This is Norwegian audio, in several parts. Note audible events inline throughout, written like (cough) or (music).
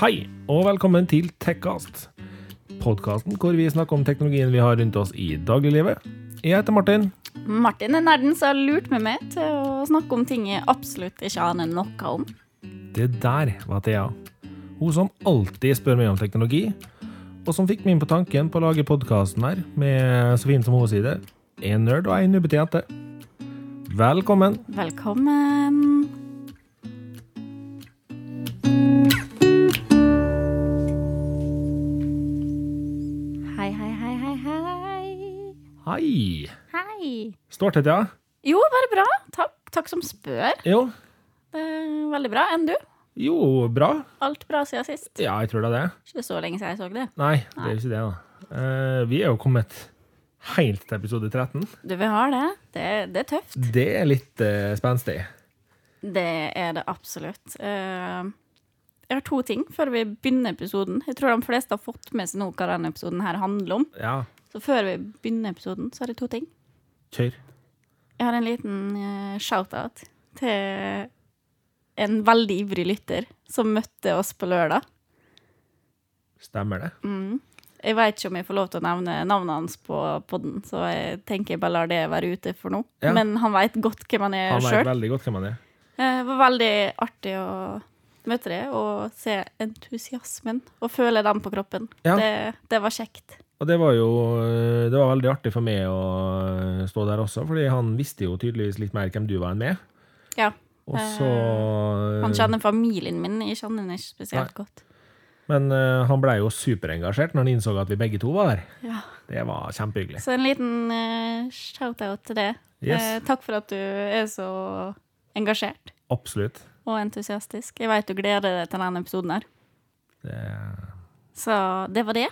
Hei, og velkommen til Tekkast. Podkasten hvor vi snakker om teknologien vi har rundt oss i dagliglivet. Jeg heter Martin. Martin er nerden som har lurt meg med til å snakke om ting jeg absolutt ikke aner noe om. Det der var Thea. Hun som alltid spør meg om teknologi, og som fikk meg inn på tanken på å lage podkasten her, med så fint som hun sier det. En nerd og ei nubbete jente. Velkommen. Velkommen. Hei, hei, hei, hei, hei. Hei. Hei. Står til, Thea? Jo, bare bra. Takk, Takk som spør. Jo. Det er veldig bra. Enn du? Jo, bra. Alt bra siden sist. Ja, jeg tror det er det. Ikke så lenge siden jeg så det. Nei, det er jo ikke det, da. Eh, vi er jo kommet helt til episode 13. Du, vi har det. Det, det er tøft. Det er litt eh, spenstig. Det er det absolutt. Eh, jeg har to ting før vi begynner episoden. Jeg tror de fleste har fått med seg nå hva denne episoden her handler om. Ja, Så før vi begynner episoden, så har jeg to ting. kjør. Jeg har en liten eh, shout-out til en veldig ivrig lytter som møtte oss på lørdag. Mm. Stemmer det? Jeg veit ikke om jeg får lov til å nevne navnet hans på podden, så jeg tenker jeg bare lar det være ute for nå. Ja. Men han veit godt hvem han er Han sjøl. vet veldig godt hvem han er. Eh, Det var veldig artig å møte deg og se entusiasmen og føle den på kroppen. Ja. Det, det var kjekt. Og det var jo eh, det var veldig artig for meg å eh, stå der også, fordi han visste jo tydeligvis litt mer hvem du var enn meg. Ja. Og så Eh, eh, Han kjenner familien min, jeg kjenner henne ikke spesielt godt. Men eh, han blei jo superengasjert når han innså at vi begge to var der. Ja. Det var kjempehyggelig. Så en liten eh, shout-out til det. Yes. Eh, takk for at du er så engasjert Absolutt. og entusiastisk. Jeg veit du gleder deg til denne episoden her. Det, Så det var det.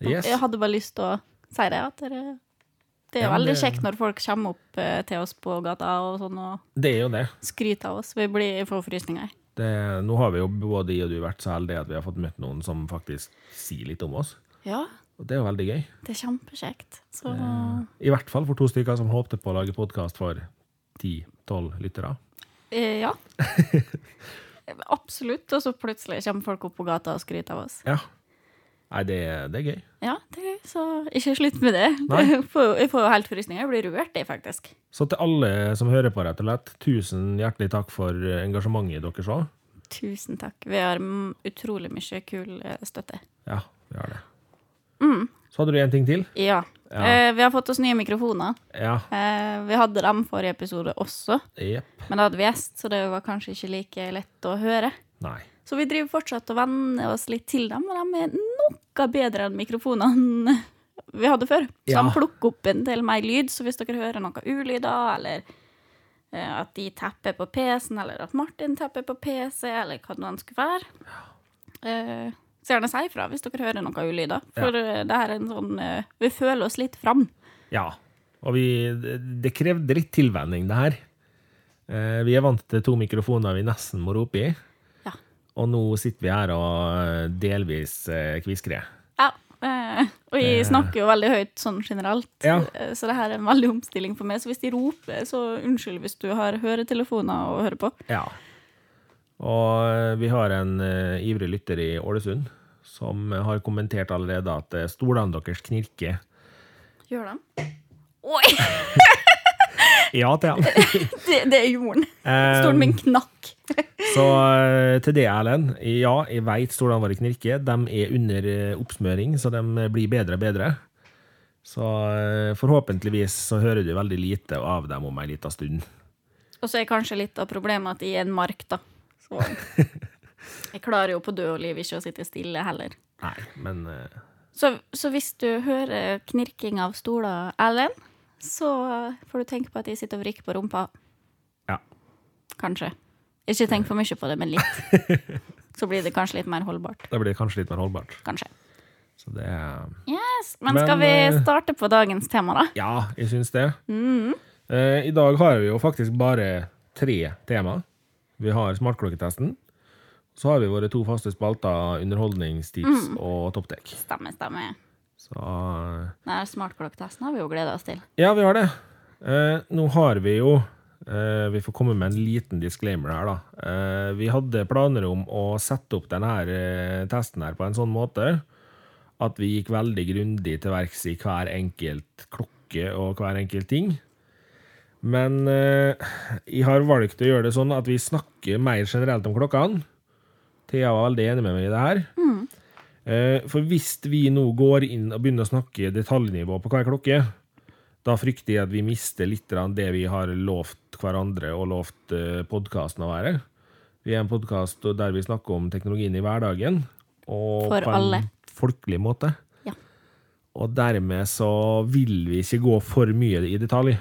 yes. Jeg hadde bare lyst til å si det. At det, det er Ja, men veldig det- kjekt når folk kommer opp eh, til oss på gata og sånn. og Det er jo det. skryt av oss. Vi blir får frysninger. det. Nå har vi jo både jeg og du vært så heldige at vi har fått møtt noen som faktisk sier litt om oss. Ja, Og det er jo veldig gøy. det er kjempekjekt. Så I hvert fall for to stykker som håpte på å lage podkast for 10-12 lyttere. eh, ja. (laughs) Absolutt. Og så plutselig kommer folk opp på gata og skryter av oss. Ja. Nei, det, det er gøy. Ja, det er gøy, så ikke slutt med det. (laughs) Nei. Jeg får jeg får jo helt frysninger. Jeg blir rørt, jeg, faktisk. Så til alle som hører på, rett og slett, tusen hjertelig takk for engasjementet deres òg. Tusen takk. Vi har mm, utrolig mye kul eh, støtte. Ja, vi har det. Så hadde du en ting til. Ja. Ja. Eh, vi har fått oss nye mikrofoner. Ja. Eh, vi hadde dem forrige episode også, Jepp. men da hadde vi gjest, så det var kanskje ikke like lett å høre. Nei. Så vi driver fortsatt og venner oss litt til dem, og de er noe bedre enn mikrofonene (laughs) vi hadde før. Så Ja. de plukker opp en del mer lyd, så hvis dere hører noe ulyder, eller eh, at de tapper på PC-en, eller at Martin tapper på PC, eller hva det nå enn skulle være, eh, så gjerne si ifra hvis dere hører noe ulyder. For eh, det her er en sånn eh, Vi føler oss litt fram. Ja. Og vi det- Det krevde litt tilvenning, det her. Eh, Vi er vant til to mikrofoner vi nesten må rope i. Ja. Og nå sitter vi her og delvis eh, kviskrer. Ja. eh, og jeg snakker jo veldig høyt sånn generelt, Ja. eh, så det her er en veldig omstilling for meg. Så hvis de roper, så unnskyld hvis du har høretelefoner å høre på. Ja. Og eh, vi har en eh, ivrig lytter i Ålesund som har kommentert allerede at eh, stolene deres knirker. Gjør de? Oi! (laughs) Ja, (laughs) til han. Eh, Det, det er jorden. Stolen min knakk. Så eh, til det, Erlend. Ja, jeg veit stolene våre knirker. De er under eh, oppsmøring, så de eh, blir bedre og bedre. Så eh, forhåpentligvis så hører du veldig lite av dem om ei lita stund. Og så er kanskje litt av problemet at jeg er en mark, da. Så jeg klarer jo på død og liv ikke å sitte stille heller. Nei, men eh, Så, så hvis du hører knirking av stoler, Ellen, så får du tenke på at jeg sitter og vrikker på rumpa. ja. Kanskje. Ikke tenk for mye på det, (laughs) men litt. Så blir det kanskje litt mer holdbart. Da blir det kanskje litt mer holdbart. Kanskje. Så det er Yes, Men Men, skal vi eh, starte på dagens tema, da? Ja, jeg syns det. Eh, I dag har vi jo faktisk bare tre tema. Vi har smartklokketesten. Så har vi våre to faste spalter underholdningstips og topptek. Stemmer, stemmer. Så eh, Den her smartklokketesten har vi jo gleda oss til. Ja, vi har det. Eh, nå har vi jo Eh, vi får komme med en liten disclaimer her, da. Eh, vi hadde planer om å sette opp denne her, eh, testen her på en sånn måte at vi gikk veldig grundig til verks i hver enkelt klokke og hver enkelt ting. Men eh, jeg har valgt å gjøre det sånn at vi snakker mer generelt om klokkene. Thea var veldig enig med meg i det her. Mm. Eh, For hvis vi nå går inn og begynner å snakke detaljnivå på hver klokke, da frykter jeg at vi mister litt av det vi har lovt hverandre og lovt podkasten å være. Vi er en podkast der vi snakker om teknologien i hverdagen. Og For på en alle. folkelig måte. Ja. Og dermed så vil vi ikke gå for mye i detalj.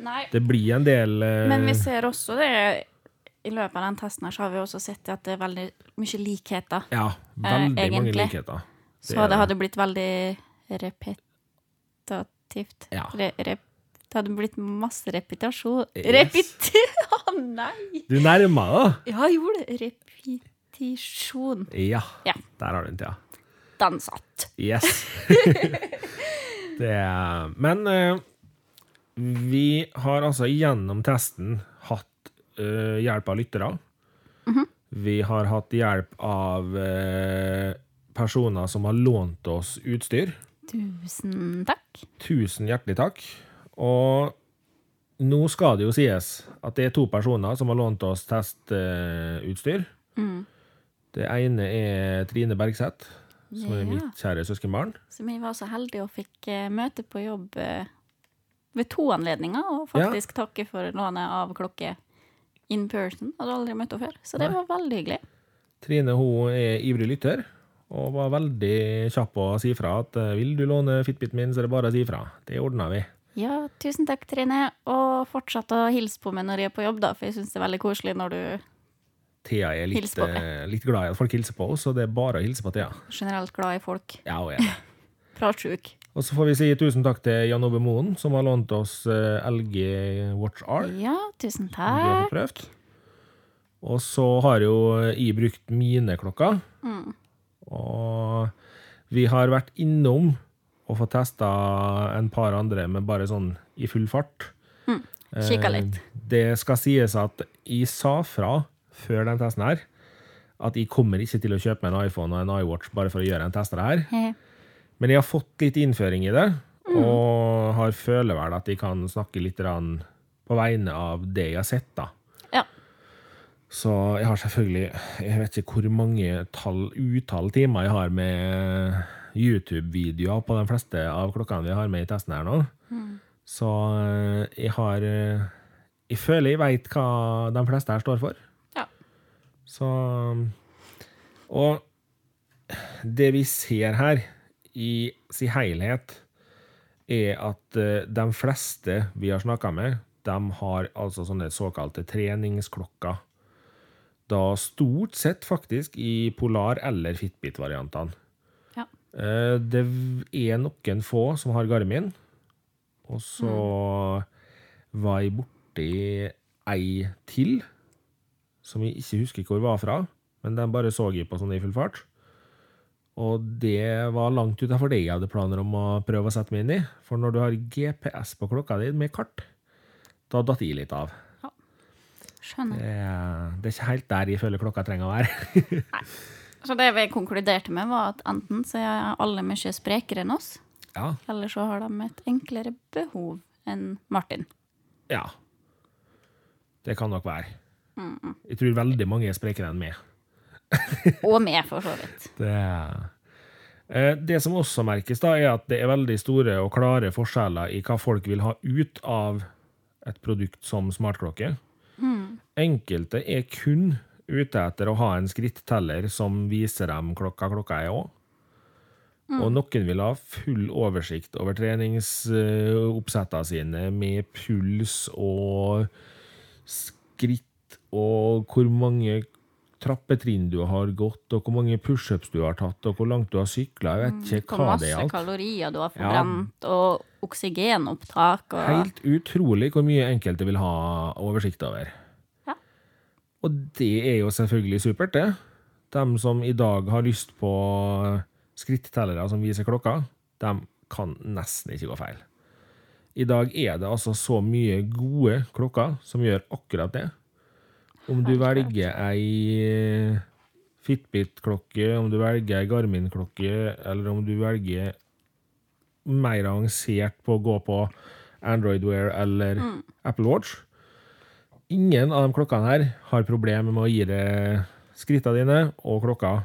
Nei. Det blir en del eh, Men vi ser også det I løpet av den testen her så har vi også sett at det er veldig mye likheter. Ja, veldig mange eh, egentlig. likheter. Så Det er det det. hadde blitt veldig repetativt. Ja. Re, rep, det hadde blitt masse repetasjon. Yes. Repet... (laughs) Å nei! Du nærmer deg, Ja, jeg gjorde det. Repetisjon. da. Ja. Ja. Der har du den, Thea. Den satt. Yes. (laughs) det er, men eh, vi har altså gjennom testen hatt eh, hjelp av lyttere. Mhm. Vi har hatt hjelp av eh, personer som har lånt oss utstyr. Tusen takk. Tusen hjertelig takk. Og nå skal det jo sies at det er to personer som har lånt oss testutstyr. Mm. Det ene er Trine Bergseth, som Ja. er mitt kjære søskenbarn. Så vi var så heldige og fikk eh, møte på jobb eh, ved to anledninger, og faktisk takke for lånet av klokke in person. Hadde aldri møtt henne før, så det var veldig hyggelig. Trine hun er ivrig lytter, og var veldig kjapp på å si fra at eh, vil du låne Fitbiten min, så er det bare å si fra. Det ordner vi. Ja, tusen takk, Trine, og fortsett å hilse på meg når jeg er på jobb, da, for jeg syns det er veldig koselig når du Thea er litt, Hils på meg. eh, litt glad i at folk hilser på henne, så det er bare å hilse på Thea. er generelt glad i folk. Ja, hun er det. Pratsjuk. Og så får vi si tusen takk til Jan Ove Moen, som har lånt oss eh, LG Watch R. Ja, tusen som du har takk. prøvd. Og så har jo jeg brukt mine klokker. Mm. Og vi har vært innom og fått testa en par andre med bare sånn i full fart. Kikka litt. Eh, Det skal sies at jeg sa fra før den testen her at jeg kommer ikke til å kjøpe meg en iPhone og en iWatch bare for å gjøre en test av det her. He. Men jeg har fått litt innføring i det, og har føler vel at jeg kan snakke litt grann på vegne av det jeg har sett, da. Ja. Så jeg har selvfølgelig Jeg vet ikke hvor mange tall, utall timer jeg har med YouTube-videoer på de fleste av klokkene vi har med i testen her nå. Så eh, jeg har eh, Jeg føler jeg veit hva de fleste her står for. ja. Så Og det vi ser her i sin helhet, er at eh, de fleste vi har snakka med, de har altså sånne såkalte treningsklokker. Da stort sett faktisk i Polar- eller Fitbit-variantene. ja. Eh, Det er noen få som har Garmin. Og så var jeg borti ei til, som jeg ikke husker hvor var fra. Men den bare så jeg på sånn i full fart. Og det var langt utafor det jeg hadde planer om å prøve å sette meg inn i. For når du har GPS på klokka di med kart, da datt jeg litt av. Skjønner. Det er, det er ikke helt der jeg føler klokka trenger å være. Så det vi konkluderte med, var at enten så er alle mye sprekere enn oss, Ja, eller så har de et enklere behov enn Martin. Ja. Det kan nok være. Jeg tror veldig mange er sprekere enn meg. Og meg, for så vidt. Det, Eh, det som også merkes, da, er at det er veldig store og klare forskjeller i hva folk vil ha ut av et produkt som smartklokke. Hmm. Enkelte er kun ute etter å ha en skritteller som viser dem klokka klokka er òg. Hmm. Og noen vil ha full oversikt over treningsoppsettene sine med puls og skritt og hvor mange trappetrinn du har gått, og hvor mange pushups du har tatt, og hvor langt du har sykla. Jeg vet ikke Hmm. Hvor hva det er altså. masse alt. kalorier du har forbrent, og oksygenopptak og Helt utrolig hvor mye enkelte vil ha oversikt over. Ja. Og det er jo selvfølgelig supert, det. De som i dag har lyst på skrittellere som viser klokka, de kan nesten ikke gå feil. I dag er det altså så mye gode klokker som gjør akkurat det. Om du Helt klart. velger ei eh, Fitbit-klokke, om du velger ei Garmin-klokke, eller om du velger mer avansert på å gå på Android Wear eller Apple Watch Ingen av de klokkene her har problemer med å gi deg skrittene dine og klokka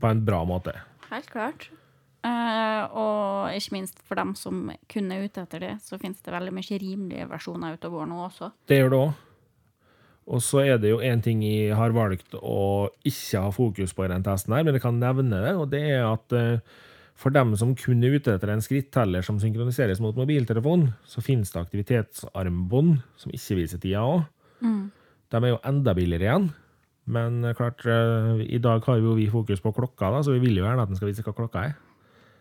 på en bra måte. Helt klart. Eh, og ikke minst for dem som kun er ute etter det, så finnes det veldig mye rimelige versjoner ute og går nå også. Det gjør det òg. Og så er det jo én ting jeg har valgt å ikke ha fokus på i den testen, her, men jeg kan nevne det, og det er at eh, for dem som kun er ute etter en skritteller som synkroniseres mot mobiltelefon, så finnes det aktivitetsarmbånd som ikke viser tida òg. De er jo enda billigere igjen, men eh, klart, eh, i dag har jo vi fokus på klokka, da, så vi vil jo gjerne at den skal vise hva klokka er.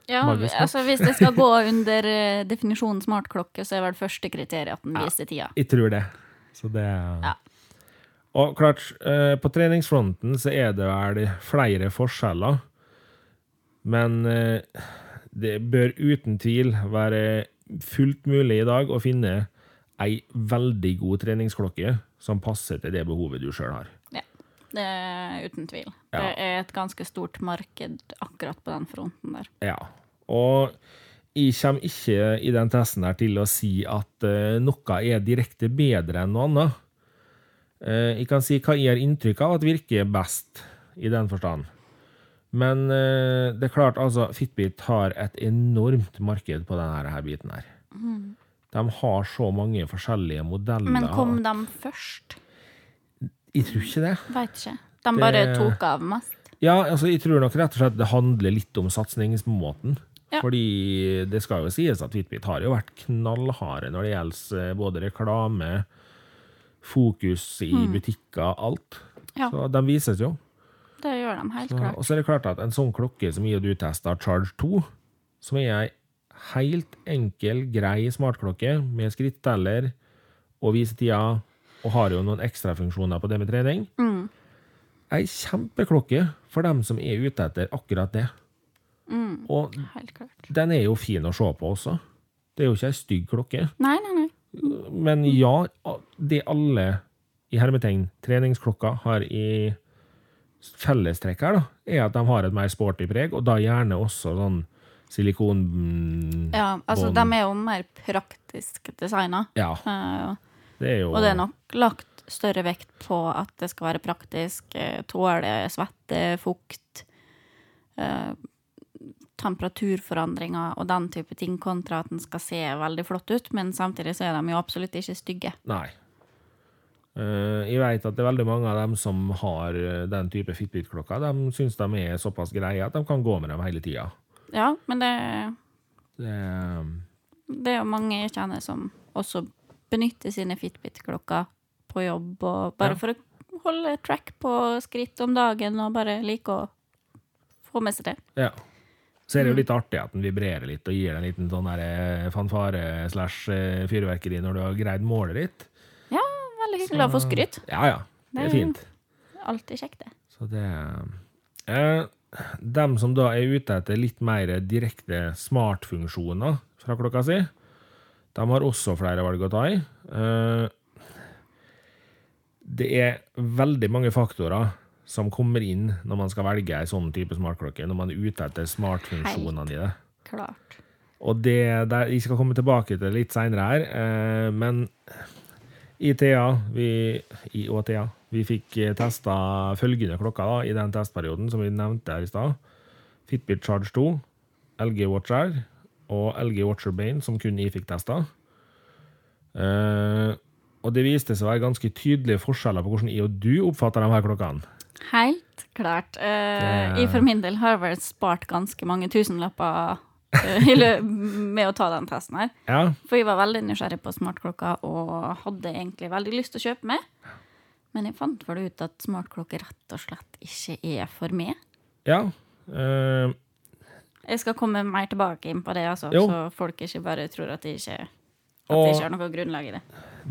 Ja, Magisk nok. altså Hvis det skal gå under eh, definisjonen smartklokke, så er vel første kriteriet at den viser tida. Jeg tror det. Så det Ja. Og klart, eh, på treningsfronten så er det vel flere forskjeller, men eh, det bør uten tvil være fullt mulig i dag å finne ei veldig god treningsklokke som passer til det behovet du sjøl har. Ja, det er Uten tvil. Ja. Det er et ganske stort marked akkurat på den fronten der. Ja. Og jeg kommer ikke i den testen her til å si at eh, noe er direkte bedre enn noe annet. Eh, jeg kan si hva jeg har inntrykk av at virker best, i den forstand. Men eh, det er klart, altså, Fitbit har et enormt marked på denne her biten her. De har så mange forskjellige modeller. Mm. Men kom de først? Jeg tror ikke det. Veit ikke. De bare Det- tok av mest. Ja, altså, jeg tror nok rett og slett det handler litt om satsningsmåten. Ja. Fordi det skal jo sies at Fitbit har jo vært knallharde når det gjelder eh, både reklame, fokus i butikker, alt. Mm. Ja. Så de vises jo. Det gjør de helt Ja, klart. og så er det klart at en sånn klokke som jeg og du testa, Charge 2, som er ei helt enkel, grei smartklokke med skritteller og visetida, og har jo noen ekstrafunksjoner på det med trening Ei kjempeklokke for dem som er ute etter akkurat det. Og Helt klart. den er jo fin å se på også. Det er jo ikke ei stygg klokke. Nei, nei, nei. Men Mm. ja, det alle i hermetegn treningsklokka har i fellestrekk her, da, er at de har et mer sporty preg, og da gjerne også sånn silikon... Ja, altså, de Bånd. er jo mer praktisk designa. Ja, Eh, det er jo Og det er nok lagt større vekt på at det skal være praktisk, eh, tåle svette, fukt, eh, temperaturforandringer og den type ting, kontra at den skal se veldig flott ut, men samtidig så er de jo absolutt ikke stygge. Nei. Eh, jeg vet at det er veldig mange av dem som har eh, den type Fitbit-klokka, de syns de er såpass greie at de kan gå med dem hele tida. Ja, men det, Det, eh, det er jo mange jeg kjenner som også benytter sine Fitbit-klokker på jobb, og bare Ja. for å holde track på skritt om dagen, og bare like å få med seg det. ja. Så er det jo litt artig at den vibrerer litt og gir deg en liten sånn der, eh, fanfare slash eh, fyrverkeri når du har greid målet ditt. Ja, veldig hyggelig å få skryt. Ja, ja. Det er Nei. fint. Alltid kjekt, det. Så det eh, Dem som da er ute etter litt mer direkte smartfunksjoner fra klokka si, de har også flere valg å ta i. Eh, det er veldig mange faktorer som kommer inn når man skal velge ei sånn type smartklokke, når man er ute etter smartfunksjonene i det. Klart. Og det der, Jeg skal komme tilbake til det litt seinere her, eh, men i Thea vi, i, og Thea vi fikk testa følgende klokker da, i den testperioden som vi nevnte her i stad. Fitbit Charge 2, LG Watcher og LG Watcher Bane, som kun jeg fikk testa. Eh, og det viste seg å være ganske tydelige forskjeller på hvordan jeg og du oppfatter de her klokkene. Helt klart. Eh, Det- Jeg for min del har vel spart ganske mange tusenlapper eh, i lø- med å ta den testen her. Ja, For jeg var veldig nysgjerrig på smartklokka og hadde egentlig veldig lyst til å kjøpe meg. Men jeg fant vel ut at smartklokke rett og slett ikke er for meg. ja. Eh, Jeg skal komme mer tilbake inn på det, altså, Jo. så folk ikke bare tror at jeg ikke, at Og- jeg ikke har noe grunnlag i det.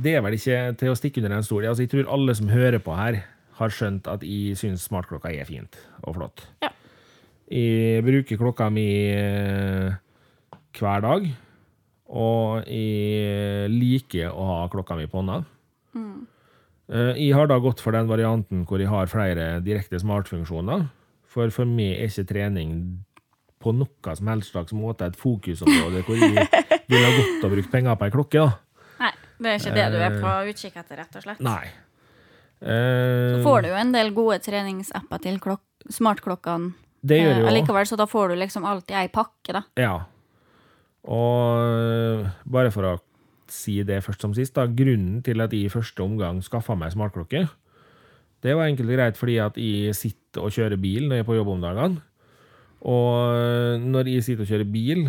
det er vel ikke til å stikke under en stol. Altså, jeg tror alle som hører på her, har skjønt at jeg syns smartklokka er fint og flott. Ja. Jeg bruker klokka mi eh, hver dag, Og jeg liker å ha klokka mi på hånda. Eh, Jeg har da gått for den varianten hvor jeg har flere direkte smartfunksjoner. For for meg er ikke trening på noe som helst slags måte et fokusområde hvor jeg ville ha godt å bruke penger på ei klokke. da. Nei, det er ikke det du er på utkikk etter, rett og slett. Eh. Nei. Eh, Så får du jo en del gode treningsapper til klok smartklokkene. det gjør jeg Eh, jo. også. Allikevel, så da får du liksom alltid ei pakke, da. Ja. Og øh, bare for å si det først som sist, da, grunnen til at jeg i første omgang skaffa meg smartklokke, det var enkelt og greit fordi at jeg sitter og kjører bil når jeg er på jobb om dagene. Og øh, når jeg sitter og kjører bil,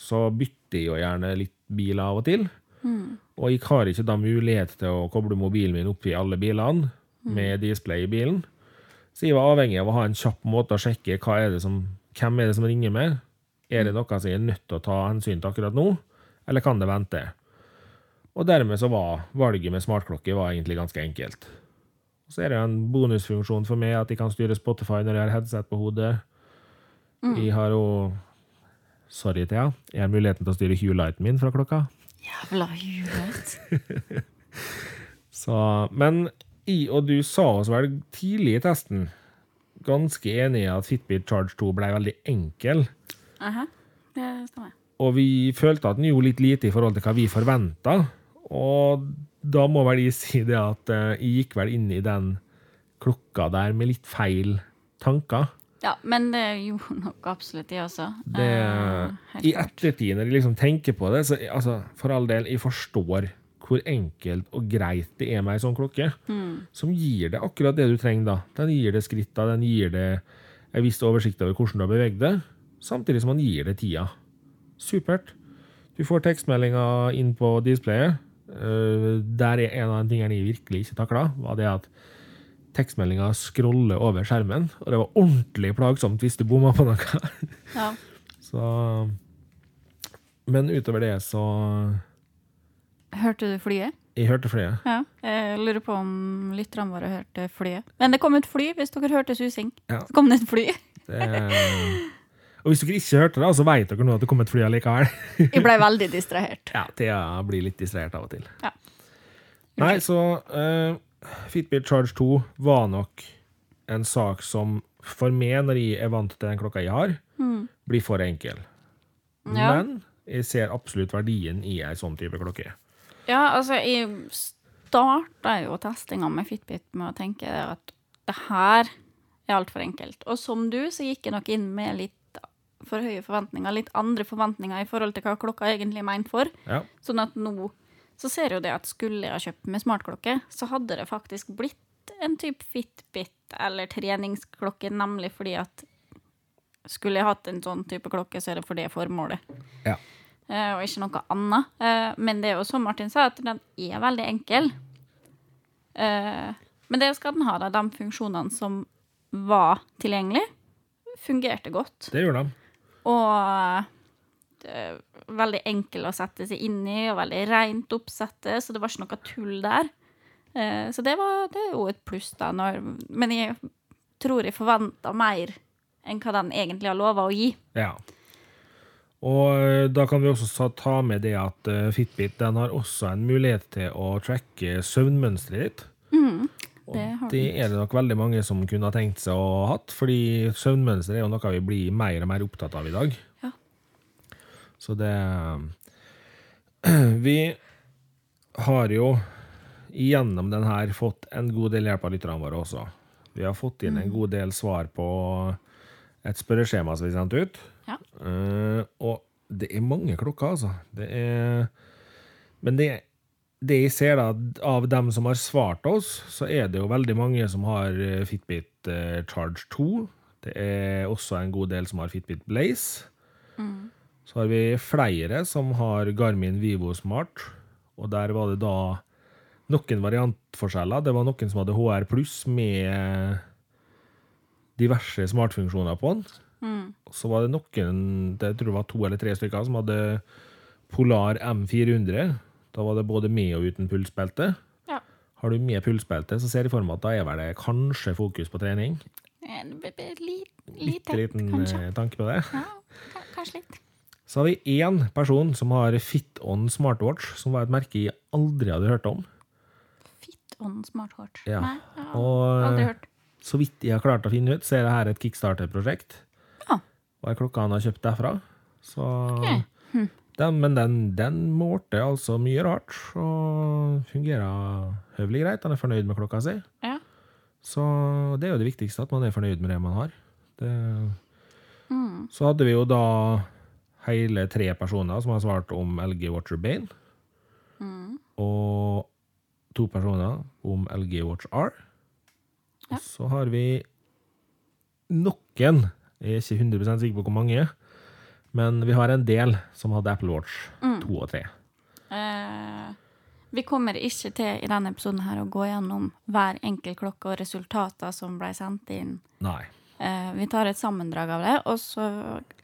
så bytter jeg jo gjerne litt bil av og til. Mm. Og jeg har ikke da mulighet til å koble mobilen min opp i alle bilene Mm. med display i bilen. Så jeg var avhengig av å ha en kjapp måte å sjekke hva er det som, hvem er det som ringer med. Er det noe som jeg er nødt til å ta hensyn til akkurat nå, eller kan det vente? Og dermed så var valget med smartklokke var egentlig ganske enkelt. Så er det en bonusfunksjon for meg at jeg kan styre Spotify når jeg har headset på hodet. Jeg har jo Sorry, Thea. Jeg har muligheten til å styre Hue-lighten min fra klokka. Jævla huet. Så, men i og du sa oss vel tidlig i testen ganske enig i at Fitbit Charge 2 ble veldig enkel, Aha, det stemmer. og vi følte at den gjorde litt lite i forhold til hva vi forventa. Og da må vel jeg si det at eh, jeg gikk vel inn i den klokka der med litt feil tanker. Ja, men det gjorde (laughs) nok absolutt de også. Det, Eh, helt I klart. ettertid, når jeg liksom tenker på det, så altså, for all del, jeg forstår hvor enkelt og greit det er med ei sånn klokke, Mm. som gir deg akkurat det du trenger da. Den gir deg skritta, den gir deg en viss oversikt over hvordan du har beveget deg, samtidig som den gir deg tida. Supert. Du får tekstmeldinga inn på displayet. Eh, der er en av de tingene jeg virkelig ikke takla, var det at tekstmeldinga scroller over skjermen, og det var ordentlig plagsomt hvis du bomma på noe. Ja. Så Men utover det, så Hørte du flyet? Jeg hørte flere. Ja. Jeg lurer på om lytterne våre hørte flyet. Men det kom et fly, hvis dere hørte susing. Ja. Så kom det et fly. Det, og hvis dere ikke hørte det, så vet dere nå at det kom et fly allikevel. Jeg ble veldig distrahert. (laughs) Ja, Thea blir litt distrahert av og til. Ja. Nei, så eh, Fitbit Charge 2 var nok en sak som for meg, når jeg er vant til den klokka jeg har, blir for enkel. (laughs) Mm. Ja. Men jeg ser absolutt verdien i ei sånn type klokke. Ja, altså, jeg starta jo testinga med Fitbit med å tenke at det her er altfor enkelt. Og som du, så gikk jeg nok inn med litt for høye forventninger, litt andre forventninger i forhold til hva klokka egentlig er meint for. Ja. Sånn at nå så ser jeg jo det at skulle jeg ha kjøpt med smartklokke, så hadde det faktisk blitt en type Fitbit eller treningsklokke, nemlig fordi at skulle jeg hatt en sånn type klokke, så er det for det formålet. Ja. Eh, og ikke noe annet. Eh, men det er jo som Martin sa, at den er veldig enkel. Eh, men det skal den ha, da. De funksjonene som var tilgjengelig, fungerte godt. Det gjorde de. Og det er veldig enkel å sette seg inn i, og veldig rent oppsette, så det var ikke noe tull der. Eh, Så det, var, det er jo et pluss, da. Når, men jeg tror jeg forventa mer enn hva den egentlig har lova å gi. Ja. Og eh, da kan vi også sa- ta med det at eh, Fitbit den har også en mulighet til å tracke søvnmønsteret ditt. Og Mm, det har det er det nok veldig mange som kunne ha tenkt seg å hatt, fordi søvnmønster er jo noe vi blir mer og mer opptatt av i dag. Ja. Så det eh, (clears throat) Vi har jo gjennom den her fått en god del hjelp av lytterne våre også. Vi har fått inn en god del svar på et spørreskjema som vi sendte ut. Ja. Eh, og det er mange klokker, altså. Det er Men det, det jeg ser, da, av dem som har svart oss, så er det jo veldig mange som har eh, Fitbit eh, Charge 2. Det er også en god del som har Fitbit Blaze. Så har vi flere som har Garmin Vivo Smart, og der var det da noen variantforskjeller. Det var noen som hadde HR pluss med diverse smartfunksjoner på den. Mm. Og Så var det noen, det jeg tror det var to eller tre stykker, som hadde Polar M400. Da var det både med og uten pulsbelte. Ja. Har du med pulsbelte, så ser jeg for meg at da er vel det kanskje fokus på trening. En b- b- li- Bitte Lite, liten kanskje. eh, tanke på det. Ja, ka- kanskje litt. Så har vi én person som har FitOn smartwatch, som var et merke jeg aldri hadde hørt om. Fitt on smart heart. Ja. Nei, jeg har aldri Og eh, hørt. så vidt jeg har klart å finne ut, så er det her et kickstarter-prosjekt. Ja. Hva er klokka han har kjøpt derfra? Så den, Men den, den målte altså mye rart, og fungerer høvelig greit. Han er fornøyd med klokka si. Ja. Så det er jo det viktigste, at man er fornøyd med det man har. Det... Så hadde vi jo da hele tre personer som har svart om LG Watch Urbane. Og to personer om LG Watch R. Ja. Og så har vi noen, jeg er ikke 100 sikker på hvor mange, men vi har en del som hadde Apple Watch 2 og 3. Eh, vi kommer ikke til i denne episoden her å gå gjennom hver enkelt klokke og resultater som ble sendt inn. Nei. Eh, vi tar et sammendrag av det, og så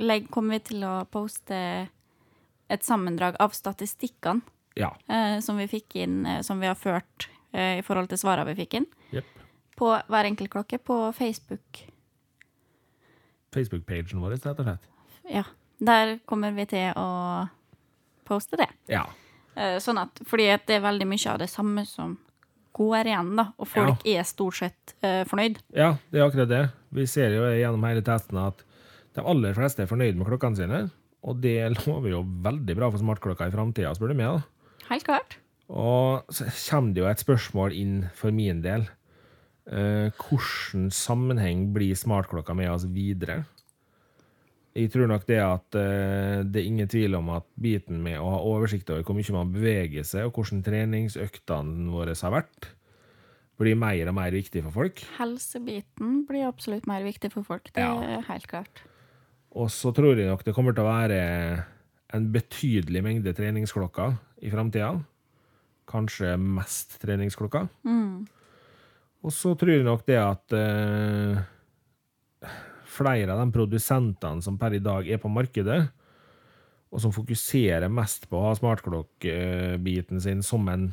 legg, kommer vi til å poste et sammendrag av statistikkene Ja. eh, som vi fikk inn, eh, som vi har ført eh, i forhold til svarene vi fikk inn, Jepp. på hver enkelt klokke på Facebook. Facebook-pagen vår, rett og slett. Ja, der kommer vi til å poste det. Ja. Eh, Sånn at, fordi at det er veldig mye av det samme som går igjen, da. Og folk er stort sett eh, fornøyd. ja, det er akkurat det. Vi ser jo gjennom hele testen at de aller fleste er fornøyd med klokkene sine. Og det lover jo veldig bra for smartklokka i framtida, spør du meg. da. Helt klart. Og så kommer det jo et spørsmål inn for min del. Eh, hvordan sammenheng blir smartklokka med oss videre? Jeg tror nok det at eh, det er ingen tvil om at biten med å ha oversikt over hvor mye man beveger seg, og hvordan treningsøktene våre har vært, blir mer og mer viktig for folk. Helsebiten blir absolutt mer viktig for folk. Det Ja. er helt klart. Og så tror jeg nok det kommer til å være en betydelig mengde treningsklokker i framtida. Kanskje mest treningsklokker. Og så tror jeg nok det at eh, flere av de produsentene som per i dag er på markedet, og som fokuserer mest på å ha smartklokkebiten sin som en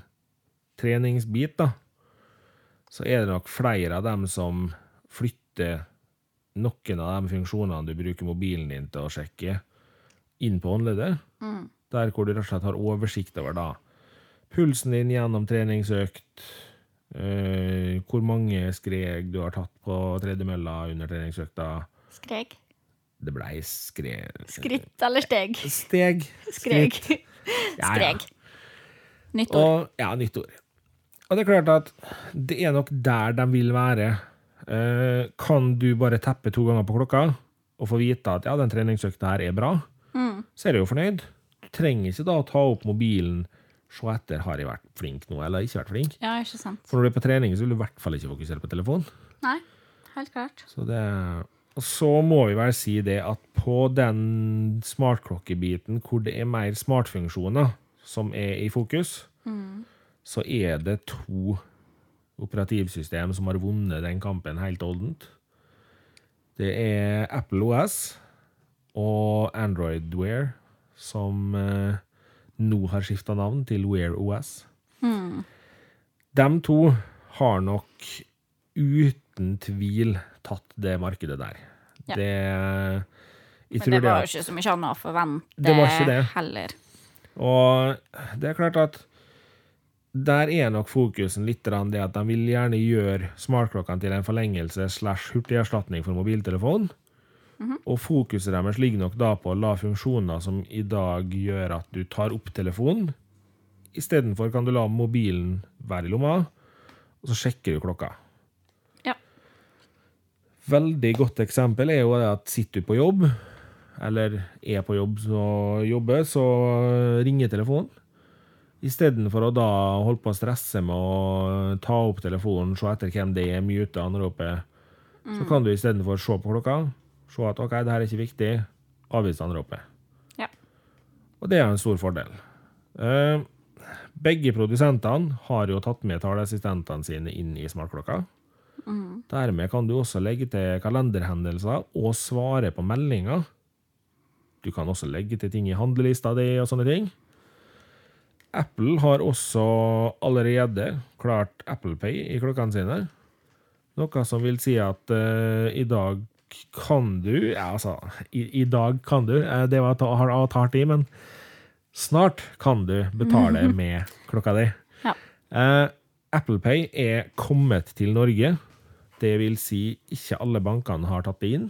treningsbit, da, så er det nok flere av dem som flytter noen av de funksjonene du bruker mobilen din til å sjekke, inn på håndleddet. Mm. Der hvor du rett og slett har oversikt over da pulsen din gjennom treningsøkt, eh, hvor mange skreg du har tatt på tredemølla under treningsøkta. Skrek. Det blei skre... Skritt eller steg. Steg. Skrek. Skritt. Ja, ja. Skrek. Nytt ord. Og, ja, nytt ord. Og det er klart at det er nok der de vil være. Eh, kan du bare teppe to ganger på klokka og få vite at ja, den treningsøkta her er bra, så er du jo fornøyd. Du trenger ikke da å ta opp mobilen, se etter har jeg vært flink nå eller ikke vært flink. Ja, ikke sant. For når du er på trening, så vil du i hvert fall ikke fokusere på telefon. Nei, helt klart. Så det og så må vi vel si det at på den smartklokkebiten hvor det er mer smartfunksjoner som er i fokus, så er det to operativsystem som har vunnet den kampen helt oldent. Det er Apple OS og Android Wear, som eh, nå har skifta navn til Wear OS. Hmm. De to har nok uten tvil tatt det markedet der. Ja. Det eh, jeg Men det tror var at- jo ikke så mye annet å forvente Det var ikke det. heller. og det er klart at der er nok fokusen litt grann det at de vil gjerne gjøre smartklokkene til en forlengelse slash hurtigerstatning for mobiltelefon. Og fokuset deres ligger nok da på å la funksjoner som i dag gjør at du tar opp telefonen. Istedenfor kan du la mobilen være i lomma, og så sjekker du klokka. Ja. Veldig godt eksempel er jo det at sitter du på jobb, eller er på jobb og jobber, så ringer telefonen. Istedenfor å da holde på å stresse med å ta opp telefonen, se etter hvem det er, mute anropet, så kan du istedenfor se på klokka, se at OK, det her er ikke viktig, avvise anropet. Ja. Og det er en stor fordel. Eh, Begge produsentene har jo tatt med taleassistentene sine inn i smartklokka. Dermed kan du også legge til kalenderhendelser og svare på meldinger. Du kan også legge til ting i handlelista di og sånne ting. Apple har også allerede klart Apple Pay i klokkene sine. Noe som vil si at eh, i dag kan du ja, Altså, i, i dag kan du. Eh, Det var ta, har har tatt hardt i, men snart kan du betale med klokka di. Ja. Eh, Apple Pay er kommet til Norge. Det vil si ikke alle bankene har tatt det inn.